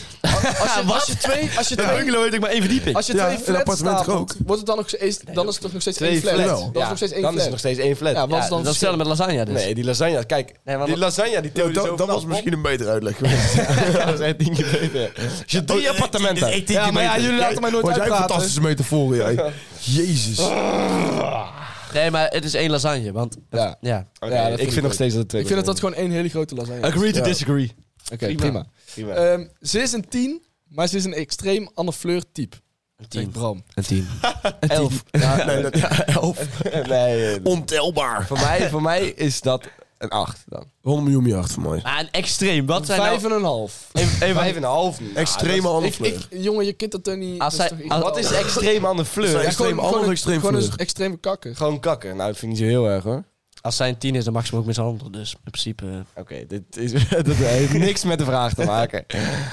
S5: als- als je, als je [LAUGHS] twee... Als je twee
S3: Bungalow weet ik maar één verdieping.
S5: als je
S4: Ja,
S5: twee
S4: een
S5: flats
S4: appartement
S5: stapelt,
S4: ook.
S5: wordt het dan, nog steeds, dan is het toch nog steeds één flat?
S2: flat.
S5: Dan is het nog steeds één
S2: dan
S5: flat.
S2: is er nog steeds één flat.
S5: Ja, wat is
S2: Ja,
S5: dan
S3: dat is hetzelfde met lasagne dus.
S2: Nee, Oh, die lasagne, kijk.
S3: Nee, want-
S2: die lasagne, die tilde
S4: dat, dat was misschien een betere uitleg geweest.
S2: [LAUGHS] dat is echt tien keer beter. Als je drie appartementen hebt.
S4: Ja, maar ja, jullie
S5: laten mij nooit
S4: Wat jij
S5: uitpraten.
S4: fantastische metaforen, jij. Jezus.
S3: Nee, maar het is één lasagne, want...
S5: Ja.
S3: Ja.
S2: Oké,
S5: Ja, dat
S2: ik
S5: vind
S2: vind
S5: ik
S2: nog steeds dat het twee
S5: Ik vind dat dat gewoon één hele grote lasagne is.
S2: Agree to
S4: Ja.
S2: disagree.
S5: Oké, prima.
S2: Prima.
S5: Ehm, ze is een 10, maar ze is een extreem Anne Fleur type. Een
S3: tien.
S5: Bram.
S3: Een tien.
S2: elf.
S4: Ja, nee, dat, ja, elf.
S2: [LAUGHS] nee, eh,
S4: Ontelbaar.
S2: voor, mij, voor mij is dat een acht dan.
S4: 100 miljoen miljard voor mij.
S3: Maar een extreem, wat zijn
S5: Vijf
S3: nou...
S5: en een half.
S3: Even, even-
S2: Vijf en een half. Nou,
S4: Extreme
S5: Ik,
S4: handvleur.
S5: ik, jongen, je kunt dat toch niet...
S3: Als
S5: dat
S3: zij-
S5: toch-
S3: als-
S2: Wat is extreem aan de fleur?
S4: Zijn-
S2: Ja,
S4: extreem
S5: gewoon- gewoon
S4: ander,
S5: een-
S4: extreem
S5: Gewoon een
S4: vlug.
S5: extreme kakker.
S2: Gewoon kakken. Nou, dat vind ik niet zo heel erg hoor.
S3: Als zij een tien is, dan mag ze hem ook mishandelen. Dus in principe... eh,
S2: Oké, dit is, [LAUGHS] dat heeft niks met de vraag te maken.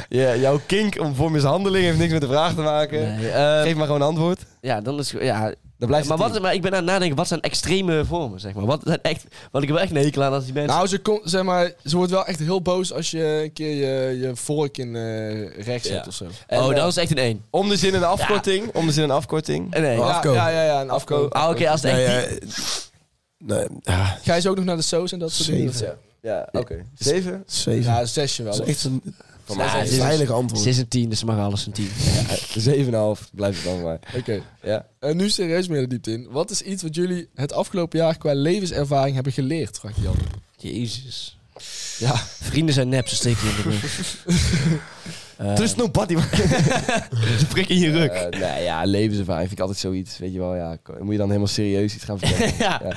S2: Ja, jouw kink om voor mishandeling heeft niks met de vraag te maken.
S3: nee, eh,
S2: Geef maar gewoon een antwoord.
S3: ja, dan is... Ja,
S2: Dan blijft
S3: maar,
S2: het
S3: wat, maar ik ben aan het nadenken, wat zijn extreme vormen, zeg maar? Wat zijn echt... Want ik heb wel echt een hekel aan als die mensen...
S5: Nou, ze, kon, zeg maar, ze wordt wel echt heel boos als je een keer je, je vork in eh, rechts
S3: Ja.
S5: hebt of zo.
S3: oh,
S2: en,
S3: dat
S2: eh,
S3: is echt een één.
S2: Om de zin een afkorting. Om de zin een afkorting.
S3: Eh, Nee.
S4: Ja.
S3: Ah,
S4: Afko.
S5: Ja, ja, ja, een afko.
S3: oh, oké, als het echt...
S4: Nee,
S3: tien-
S4: eh, nee, ah,
S5: Ga je ze ook nog naar de soos en dat soort dingen?
S4: zeven.
S2: Ja, oké. Zeven?
S4: Zeven.
S5: Ja, een zesje wel.
S4: dat is echt een
S2: Voor
S3: Ja,
S2: mij
S3: het
S2: Oh. Ah, is
S3: is-
S4: veilig
S3: Ze
S4: antwoord.
S3: is een tien, dus ze mag alles een tien.
S2: het zeven en een half. Blijft het dan maar.
S5: Oké.
S2: Ja.
S5: En nu serieus meer de diepte in. Wat is iets wat jullie het afgelopen jaar qua levenservaring hebben geleerd? Vraagt Jan.
S3: Jezus. Ja, vrienden zijn nep, ze steken je in de rug. [LAUGHS] Eh,
S2: Trust nobody.
S3: ze prikken in je rug.
S2: Eh, nee, ja, levenservaring vind ik altijd zoiets. Weet je wel, ja. ko- Moet je dan helemaal serieus iets gaan
S3: [LAUGHS]
S2: vertellen?
S3: ja.
S2: Ja.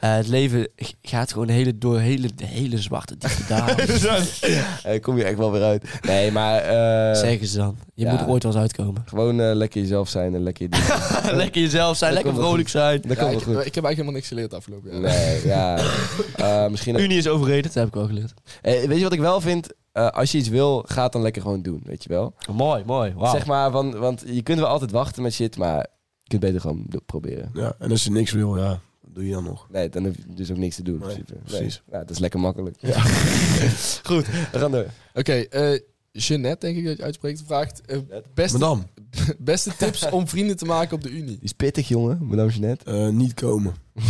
S3: Eh, het leven g- gaat gewoon hele, door hele, hele zwarte diepte [LAUGHS] dalen.
S2: Eh, kom je echt wel weer uit. Nee, maar... eh,
S3: zeggen ze dan. Je
S2: ja.
S3: moet er ooit wel eens uitkomen.
S2: Gewoon eh, lekker jezelf zijn en lekker je doen.
S3: [LAUGHS] lekker jezelf zijn,
S2: Dat
S3: lekker
S2: komt wel
S3: vrolijk zijn.
S2: Dat
S5: Ja,
S2: komt wel
S5: ik, ik heb
S2: goed.
S5: eigenlijk helemaal niks geleerd afgelopen jaar.
S2: Nee, ja. Eh, misschien...
S3: Unie is overreden, dat heb ik wel geleerd.
S2: Eh, weet je wat ik wel vind? Eh, als je iets wil, ga het dan lekker gewoon doen, weet je wel?
S3: mooi, mooi. Wauw.
S2: Zeg maar, want, want je kunt wel altijd wachten met shit, maar je kunt beter gewoon do- proberen.
S4: Ja, en als je niks wil, ja, wat doe je dan nog?
S2: Nee, dan heb je dus ook niks te doen. in
S4: Nee,
S2: principe. Nee.
S4: precies.
S2: Nou, dat is lekker makkelijk. [LAUGHS] Goed, we gaan door.
S5: Oké, eh Jeannette, denk ik dat je uitspreekt, vraagt... eh, beste,
S4: Madame,
S5: [LAUGHS] beste tips om vrienden te maken op de Unie.
S2: Die is pittig, jongen. Madame Jeannette.
S4: eh, niet komen.
S5: Ja,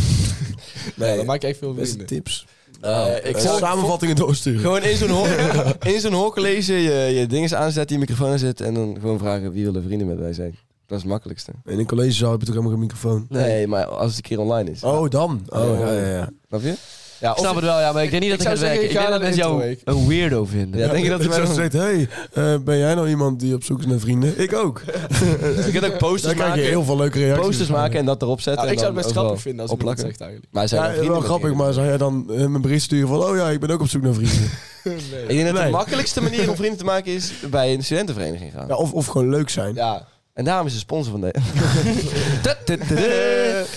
S4: nee,
S5: dan maak ik echt veel
S4: beste
S5: vrienden.
S4: tips.
S2: Eh, ik
S4: Eh,
S2: zou
S4: samenvattingen doorsturen.
S2: gewoon in zo'n hok, [LAUGHS] in zo'n hok lezen, je, je dinges aanzetten, je microfoon aanzetten en dan gewoon vragen wie willen vrienden met mij zijn. Dat is het makkelijkste.
S4: In een collegezaal heb je toch helemaal geen microfoon?
S2: Nee, maar als het een keer online is.
S4: Oh, dan. Oh, ja, ja, ja.
S2: Snap je?
S5: Ja,
S3: ik snap het wel, ja, maar ik denk niet dat
S5: ik
S3: het
S5: zou
S3: gaat
S5: zeggen,
S3: werken. Ik
S5: ik ga
S3: denk dat
S5: naar
S3: mensen
S5: de
S3: jou een weirdo vinden.
S2: Ja, denk je dat
S4: Dat
S2: ze
S4: je
S2: mij
S4: zegt,
S2: nog-
S4: zegt, hey, eh, ben jij nou iemand die op zoek is naar vrienden? Ik ook.
S2: [LAUGHS] Je kunt Dus ook
S4: Daar
S2: posters
S4: krijg je
S2: maken.
S4: heel veel leuke reacties.
S2: posters maken en dat erop
S5: Ja,
S2: zetten.
S5: ik zou het
S2: en
S5: best
S2: dan overal
S5: grappig vinden als iemand
S2: opplakken.
S5: het zegt eigenlijk.
S2: Maar
S4: Ja,
S2: zijn
S4: wel grappig, maar zou jij dan eh, mijn bericht sturen van... Oh ja, ik ben ook op zoek naar
S2: [LAUGHS]
S4: vrienden.
S2: Ik denk dat
S4: Nee.
S2: de makkelijkste manier om vrienden te maken is bij een studentenvereniging gaan.
S4: Ja, of, of gewoon leuk zijn.
S5: Ja,
S2: En daarom is de sponsor
S5: [LAUGHS]
S2: van deze.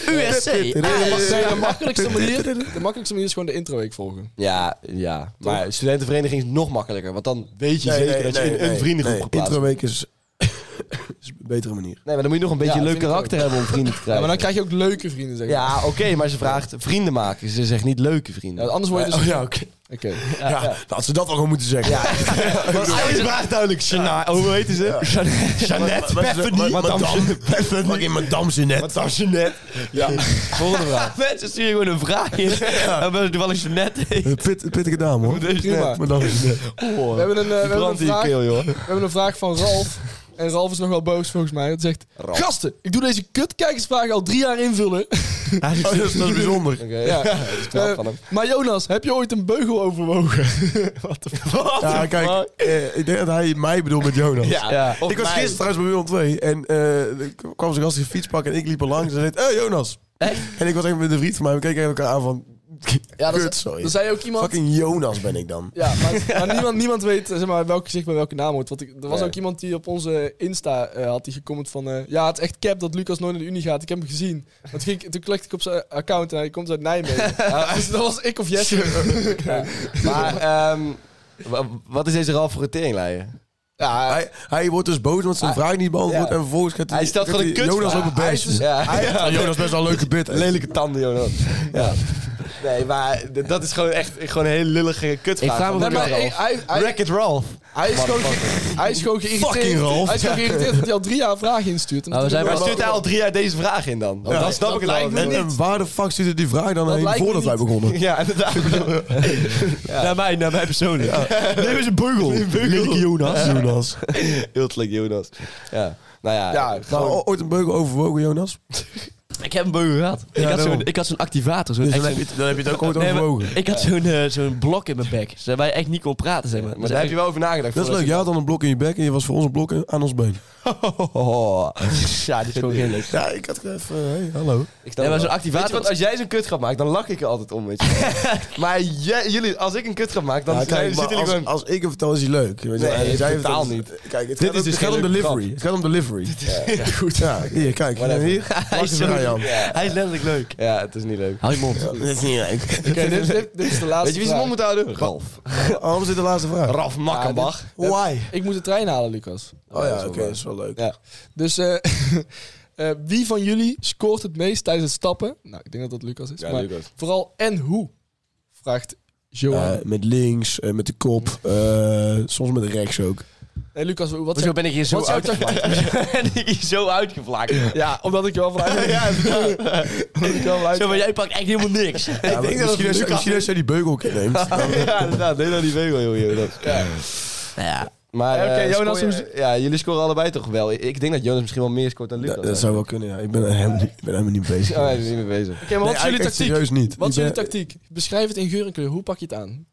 S3: USC.
S2: Ah,
S5: de makkelijkste manier, de makkelijkste manier is gewoon de intro-week volgen.
S2: Ja, ja. Maar studentenvereniging is nog makkelijker, want dan weet je
S4: Nee,
S2: zeker
S4: nee,
S2: dat je
S4: nee,
S2: in een
S4: nee.
S2: vriendengroep
S4: Nee,
S2: geplaatst
S4: Introweek is Dat is [LAUGHS] een betere manier.
S2: Nee, maar dan moet je nog een beetje
S5: Ja,
S2: leuk
S5: vind ik
S2: karakter
S5: ook.
S2: hebben om vrienden te
S5: [LAUGHS] Ja,
S2: krijgen.
S5: maar dan krijg je ook leuke vrienden, zeg maar.
S2: Ja, oké, maar ze vraagt vrienden maken. Ze zegt niet leuke vrienden.
S5: Ja, anders word je dus...
S4: oh ja, oké.
S5: Oké.
S4: Ja, Laten ze dat wel gewoon moeten zeggen. Ja, [LAUGHS]
S2: Hij vraagt duidelijk Shana. Oh, hoe heet [LAUGHS] ze?
S3: [LAUGHS]
S2: Jeanette.
S4: Jeannette, Bethany, Madame, Fucking Madame Jeannette. Madame Jeannette.
S2: Volgende vraag.
S3: [LAUGHS] Mensen sturen gewoon een vraag in. En we toevallig je net
S4: Pit, pittige dame, hoor.
S3: Dus-
S4: [LAUGHS]
S5: Prima.
S4: Madame [LAUGHS] Jeannette. Oh,
S5: We hebben, een, eh, we, hebben een
S2: Brand in je
S5: vraag,
S2: keel, joh.
S5: we hebben een vraag
S4: [LAUGHS]
S5: van Ralf. En Ralf is nog wel boos volgens mij. Het zegt: Gasten, ik doe deze kutkijkersvragen al drie jaar invullen.
S4: Oh, dat is dat is bijzonder.
S2: Oké,
S5: Ja.
S2: ja. dat is [LAUGHS] knap
S5: Eh,
S2: van hem.
S5: maar Jonas, heb je ooit een beugel overwogen? Wat de fuck?
S4: Ja, kijk, eh, ik denk dat hij mij bedoelt met Jonas.
S2: Ja.
S4: ik was gisteren trouwens bij Willem 2 en eh, er kwam zo'n gast in een fietspak en ik liep er langs en zei, hey, Jonas. En ik was echt met een vriend van mij, we keken elkaar aan van,
S5: Ja, dat,
S4: kut, sorry.
S5: dat zei ook iemand.
S4: Fucking Jonas ben ik dan.
S5: Ja, maar,
S4: [LAUGHS]
S5: maar niemand, niemand weet eh, zeg maar, welk gezicht bij welke naam hoort. Want ik, er was
S2: Nee.
S5: ook iemand die op onze Insta eh, had die gecomment van... eh, ja, het is echt cap dat Lucas nooit naar de Unie gaat. Ik heb hem gezien. Want toen, ging ik- toen klikte ik op zijn account en hij komt uit
S2: [LAUGHS]
S5: Nijmegen. Ja, dus dat was ik of Jesse.
S2: Maar, ehm, wa- wat is deze Ralf voor een teringleier?
S5: Ja,
S4: Hij, hij wordt dus boos omdat zijn vraag niet beantwoord
S2: ja.
S4: en vervolgens gaat hij...
S2: Hij stelt
S4: gaat
S2: gewoon
S4: hij
S2: een kutvraag.
S4: Jonas ook een
S2: Hij
S4: best.
S2: is- ja. Hij-
S4: Jonas best wel een leuke bit.
S2: [LAUGHS] Lelijke tanden, Jonas. Ja. Nee, maar d- dat is gewoon echt gewoon een hele lullige kutvraag.
S3: Ik vraag Oh, me
S2: van
S5: Nee, maar
S2: Ralf.
S5: hij, hij, hij,
S2: Wreck-It Ralph.
S5: hij is gewoon, ge- hij is gewoon
S4: Fucking
S5: geïrriteerd.
S4: Ralf.
S5: Hij is gewoon geïrriteerd dat hij al drie jaar vragen instuurt. En
S3: Nou, we
S5: dat
S3: zijn
S2: Maar
S5: doet
S2: stuurt hij al drie jaar deze vraag in dan? Want dan snap
S5: dat
S2: ik het al.
S5: lijkt me
S2: En-
S4: En, en waar de fuck zit er die vraag dan heen
S5: lijkt me
S4: voordat wij
S5: niet.
S4: begonnen?
S2: [LAUGHS]
S4: [LAUGHS]
S2: Ja, inderdaad.
S3: Naar mij, naar mij persoonlijk. Neem eens een beugel.
S4: Lelijke Jonas. Jonas.
S2: [LAUGHS] Heel slecht, Jonas. Ja. Nou ja.
S5: Ja,
S4: Nou,
S5: gewoon,
S4: o- ooit een beugel overwogen, Jonas?
S3: Ik heb een beugel gehad. ik, had zo'n,
S4: daarom.
S3: ik had zo'n activator. Zo'n
S4: Dus
S3: echt
S4: dan heb,
S3: zo'n-
S4: je, dan heb je het ook ooit
S3: Nee, maar
S4: overwogen.
S3: ik had zo'n, eh, zo'n blok in mijn bek. Zodat wij echt niet kon praten, zeg maar.
S2: Maar
S3: Dus
S2: daar heb
S3: echt-
S2: je wel over nagedacht.
S4: Dat is leuk. Jij had dan een blok in je bek en je was voor ons een blok in- aan ons been.
S5: [LAUGHS]
S2: Oh.
S3: Ja, dit is gewoon geen leuk.
S4: Ja, ik had even... eh, hey, hallo.
S2: Ik snap het
S3: Nee, maar zo'n
S2: wel. Weet
S3: activator...
S2: je wat, als jij zo'n kutgrap maakt, dan lach ik er altijd om, weet je wel. Maar jij- jullie, als ik een kutgrap maak, dan
S4: Ja,
S2: zijn-
S4: kijk,
S2: zitten
S4: maar
S2: jullie
S4: als,
S2: gewoon...
S4: als ik hem vertel is hij leuk. Weet je,
S2: Nee,
S4: en jij
S2: totaal
S4: vertelt- Kijk,
S2: Dit
S4: het gaat,
S2: is
S4: om-
S2: dus
S4: het gaat
S2: geen
S4: om
S2: leuke
S4: delivery. Het gaat om delivery.
S2: [LAUGHS]
S4: Ja, goed. Ja, hier, kijk.
S2: Whatever. [LAUGHS]
S4: Hier,
S3: Hij is,
S4: Wacht even,
S3: zo-
S4: Jan.
S3: hij is letterlijk leuk.
S2: Ja, het is niet leuk.
S3: Hou je mond.
S4: dat is niet leuk.
S5: Oké, dit, dit- dit is de laatste
S2: Weet je wie zijn
S5: vraag.
S2: mond moet houden? Ralf.
S4: Waarom zit de laatste vraag?
S2: Ralf Makkenbach.
S4: Why?
S5: Ik moet de trein halen, Lucas.
S4: Oh ja, oké, dat is wel leuk.
S5: Ja. Dus eh, [LAUGHS] eh, wie van jullie scoort het meest tijdens het stappen? Nou, ik denk dat dat Lucas is.
S2: Ja,
S5: maar
S2: Lucas.
S5: Vooral en hoe? Vraagt Johan.
S4: Eh, met links, eh, met de kop, eh, soms met rechts ook.
S5: hey, Lucas, wat
S3: Hoezo
S5: zou...
S3: ben ik hier zo
S5: Wat zou ik
S3: [LAUGHS] uitgevlakt? ben ik hier zo uitgevlakt?
S5: [LAUGHS] Ja, omdat ik je wel vanuit... ja, omdat ik je wel vanuit...
S3: Zo, maar jij pakt echt helemaal niks.
S4: Ja, maar misschien als- misschien als jij die beugel ook inneemt. dan-
S2: Ja, inderdaad. Neem nou die vegel, joh, Jonas.
S3: Ja.
S2: Maar,
S5: Ja, oké,
S2: eh,
S5: Jonas,
S2: scoor je-
S5: hoe-
S2: Ja, jullie scoren allebei toch wel. Ik denk dat Jonas misschien wel meer scoort dan Lucas.
S4: Dat, dat zou wel kunnen, ja. Ik ben er helemaal niet, ik ben helemaal niet bezig.
S2: Oh, hij is er niet mee bezig.
S5: Oké, maar wat is
S4: Nee,
S5: jullie
S4: eigenlijk echt
S5: tactiek?
S4: serieus niet.
S5: Wat
S4: Ik
S5: is jullie
S4: ben- eh,
S5: tactiek? Beschrijf het in geur en kleur. Hoe pak je het aan?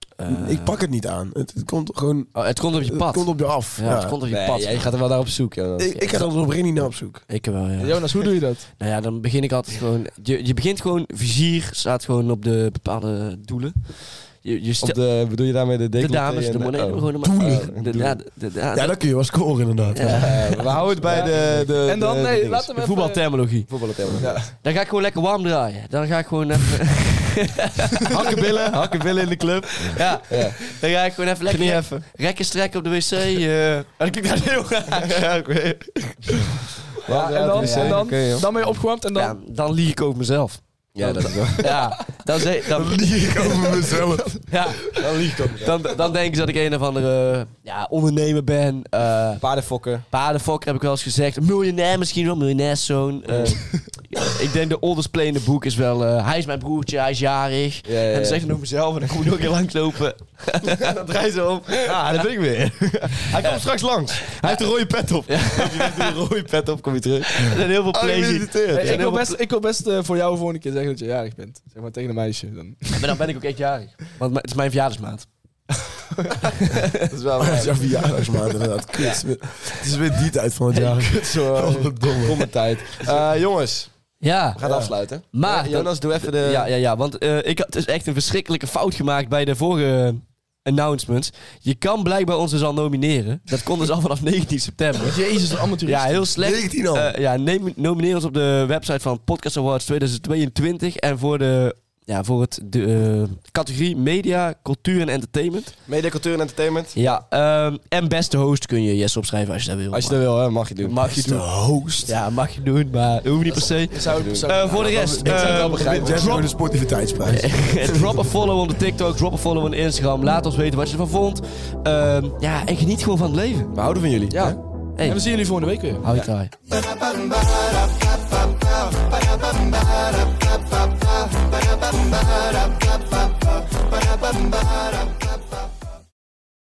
S4: Ik pak het niet aan. Het, het komt gewoon...
S3: Oh, het komt op je
S4: Het
S3: pad.
S4: komt op je af.
S3: ja,
S4: Ja.
S3: het komt op je
S2: Nee,
S3: pad.
S2: jij gaat er wel naar op zoek, Jonas.
S4: Ik, ik ga er oprecht niet naar op zoek.
S3: Ik wel, ja.
S5: Jonas, hoe doe je dat?
S3: Nou ja, dan begin ik altijd gewoon... Je, je begint gewoon... Vizier staat gewoon op de bepaalde doelen. Je, je
S2: Op
S3: stelt...
S2: de, bedoel je daarmee de
S3: De,
S2: decolleté
S3: dames,
S2: en
S3: de nee,
S2: oh.
S3: gewoon maar-
S2: Doelen.
S3: eh, de- ja, de- de- ja,
S4: Ja, dan kun je wel scoren inderdaad.
S3: Ja.
S2: Eh, we houden het bij de, de...
S5: En
S2: [LAUGHS]
S5: dan,
S2: de- de
S5: nee,
S2: dinges.
S5: laten we
S3: de
S5: even...
S3: voetbalterminologie.
S2: Voetballen tellen. [LAUGHS]
S3: Dan ga ik gewoon lekker warm draaien. Dan ga ik gewoon even... [LAUGHS]
S2: Hakkenbillen, hakkenbillen in de club.
S3: ja,
S2: Ja.
S3: dan ga ik gewoon even lekker... Rekken strekken op de [LAUGHS] wc. eh en dan klinkt dat heel raar.
S2: Ja, oké. [LAUGHS]
S5: Ja, en dan, en dan, dan ben je opgewarmd en dan...
S3: Ja, dan lieg ik over mezelf.
S2: Ja, dat is wel.
S3: Ja, dan, zeg, dan,
S4: Ik over mezelf.
S3: ja,
S2: Dan lieg ik
S3: dan, dan denken ze dat ik een of andere ja, ondernemer ben. eh
S2: [LAUGHS] Paardenfokken.
S3: paardenfokker heb ik wel eens gezegd. Miljonair misschien wel, miljonairszoon. Eh, [LAUGHS] ik denk de oldest play in de boek is wel... eh, hij is mijn broertje, hij is jarig.
S2: Ja, ja, ja.
S3: En dan zeg ik nog mezelf en dan kom ik nog heel
S2: [LAUGHS]
S3: langslopen. en dan draai ze om.
S2: Ah, dat ben ik
S3: [LAUGHS]
S2: weer. Hij komt straks langs. Hij heeft een rode pet op. Hij heeft een rode pet op, kom je terug.
S3: Er zijn heel veel
S2: Oh, je
S3: plays.
S2: bent
S3: die-
S2: irriterend.
S3: er
S5: Hey,
S3: zijn
S5: ik wil
S3: heel veel
S5: best, ik wil best eh, voor jou de volgende keer zeggen dat je jarig bent. Zeg maar tegen een meisje. Dan.
S3: pla- Maar dan ben ik ook echt jarig. Want mijn- het is mijn verjaardagsmaand.
S2: [LAUGHS] Dat is wel
S4: [LAUGHS] Dat
S2: waar.
S4: is [LAUGHS] jouw verjaardagsmaand inderdaad. Kut. Het is weer die tijd van het jaar.
S2: Zo, eh, Domme tijd. Eh, jongens,
S3: Ja,
S2: we gaan afsluiten.
S3: maar...
S2: Ja, Jonas, doe even de...
S3: Ja, ja, ja, want eh, ik had dus echt een verschrikkelijke fout gemaakt bij de vorige eh, announcements. Je kan blijkbaar ons dus al nomineren. Dat kon dus al vanaf [LAUGHS] 19 september.
S5: Jezus, amateur.
S3: Ja, heel slecht.
S4: 19 al.
S3: Eh, ja, neem, nomineer ons op de website van Podcast Awards 2022. En voor de ja, voor het, de eh, categorie media, cultuur en entertainment.
S2: Media, cultuur en entertainment.
S3: Ja, ehm, en beste host kun je Jesse opschrijven als je dat wil.
S2: Als je dat wil, hè, mag je
S3: maar-
S2: doen.
S3: mag je
S4: De
S3: doen.
S4: host.
S3: Ja, mag je doen, maar hoeft niet per se.
S5: Zou ik persoonlijk-
S3: Eh, voor de rest,
S5: Ik zou het wel
S3: eh,
S5: begrijpen.
S4: Jij hebt gewoon de sportiviteitsprijs.
S3: [LAUGHS] drop een follow op de TikTok, drop een follow op Instagram. Laat ons weten wat je ervan vond. Ehm, ja, en geniet gewoon van het leven.
S2: We houden van jullie.
S5: Ja.
S2: hè?
S3: Hey.
S5: En we zien jullie volgende week weer.
S3: Hou je taai.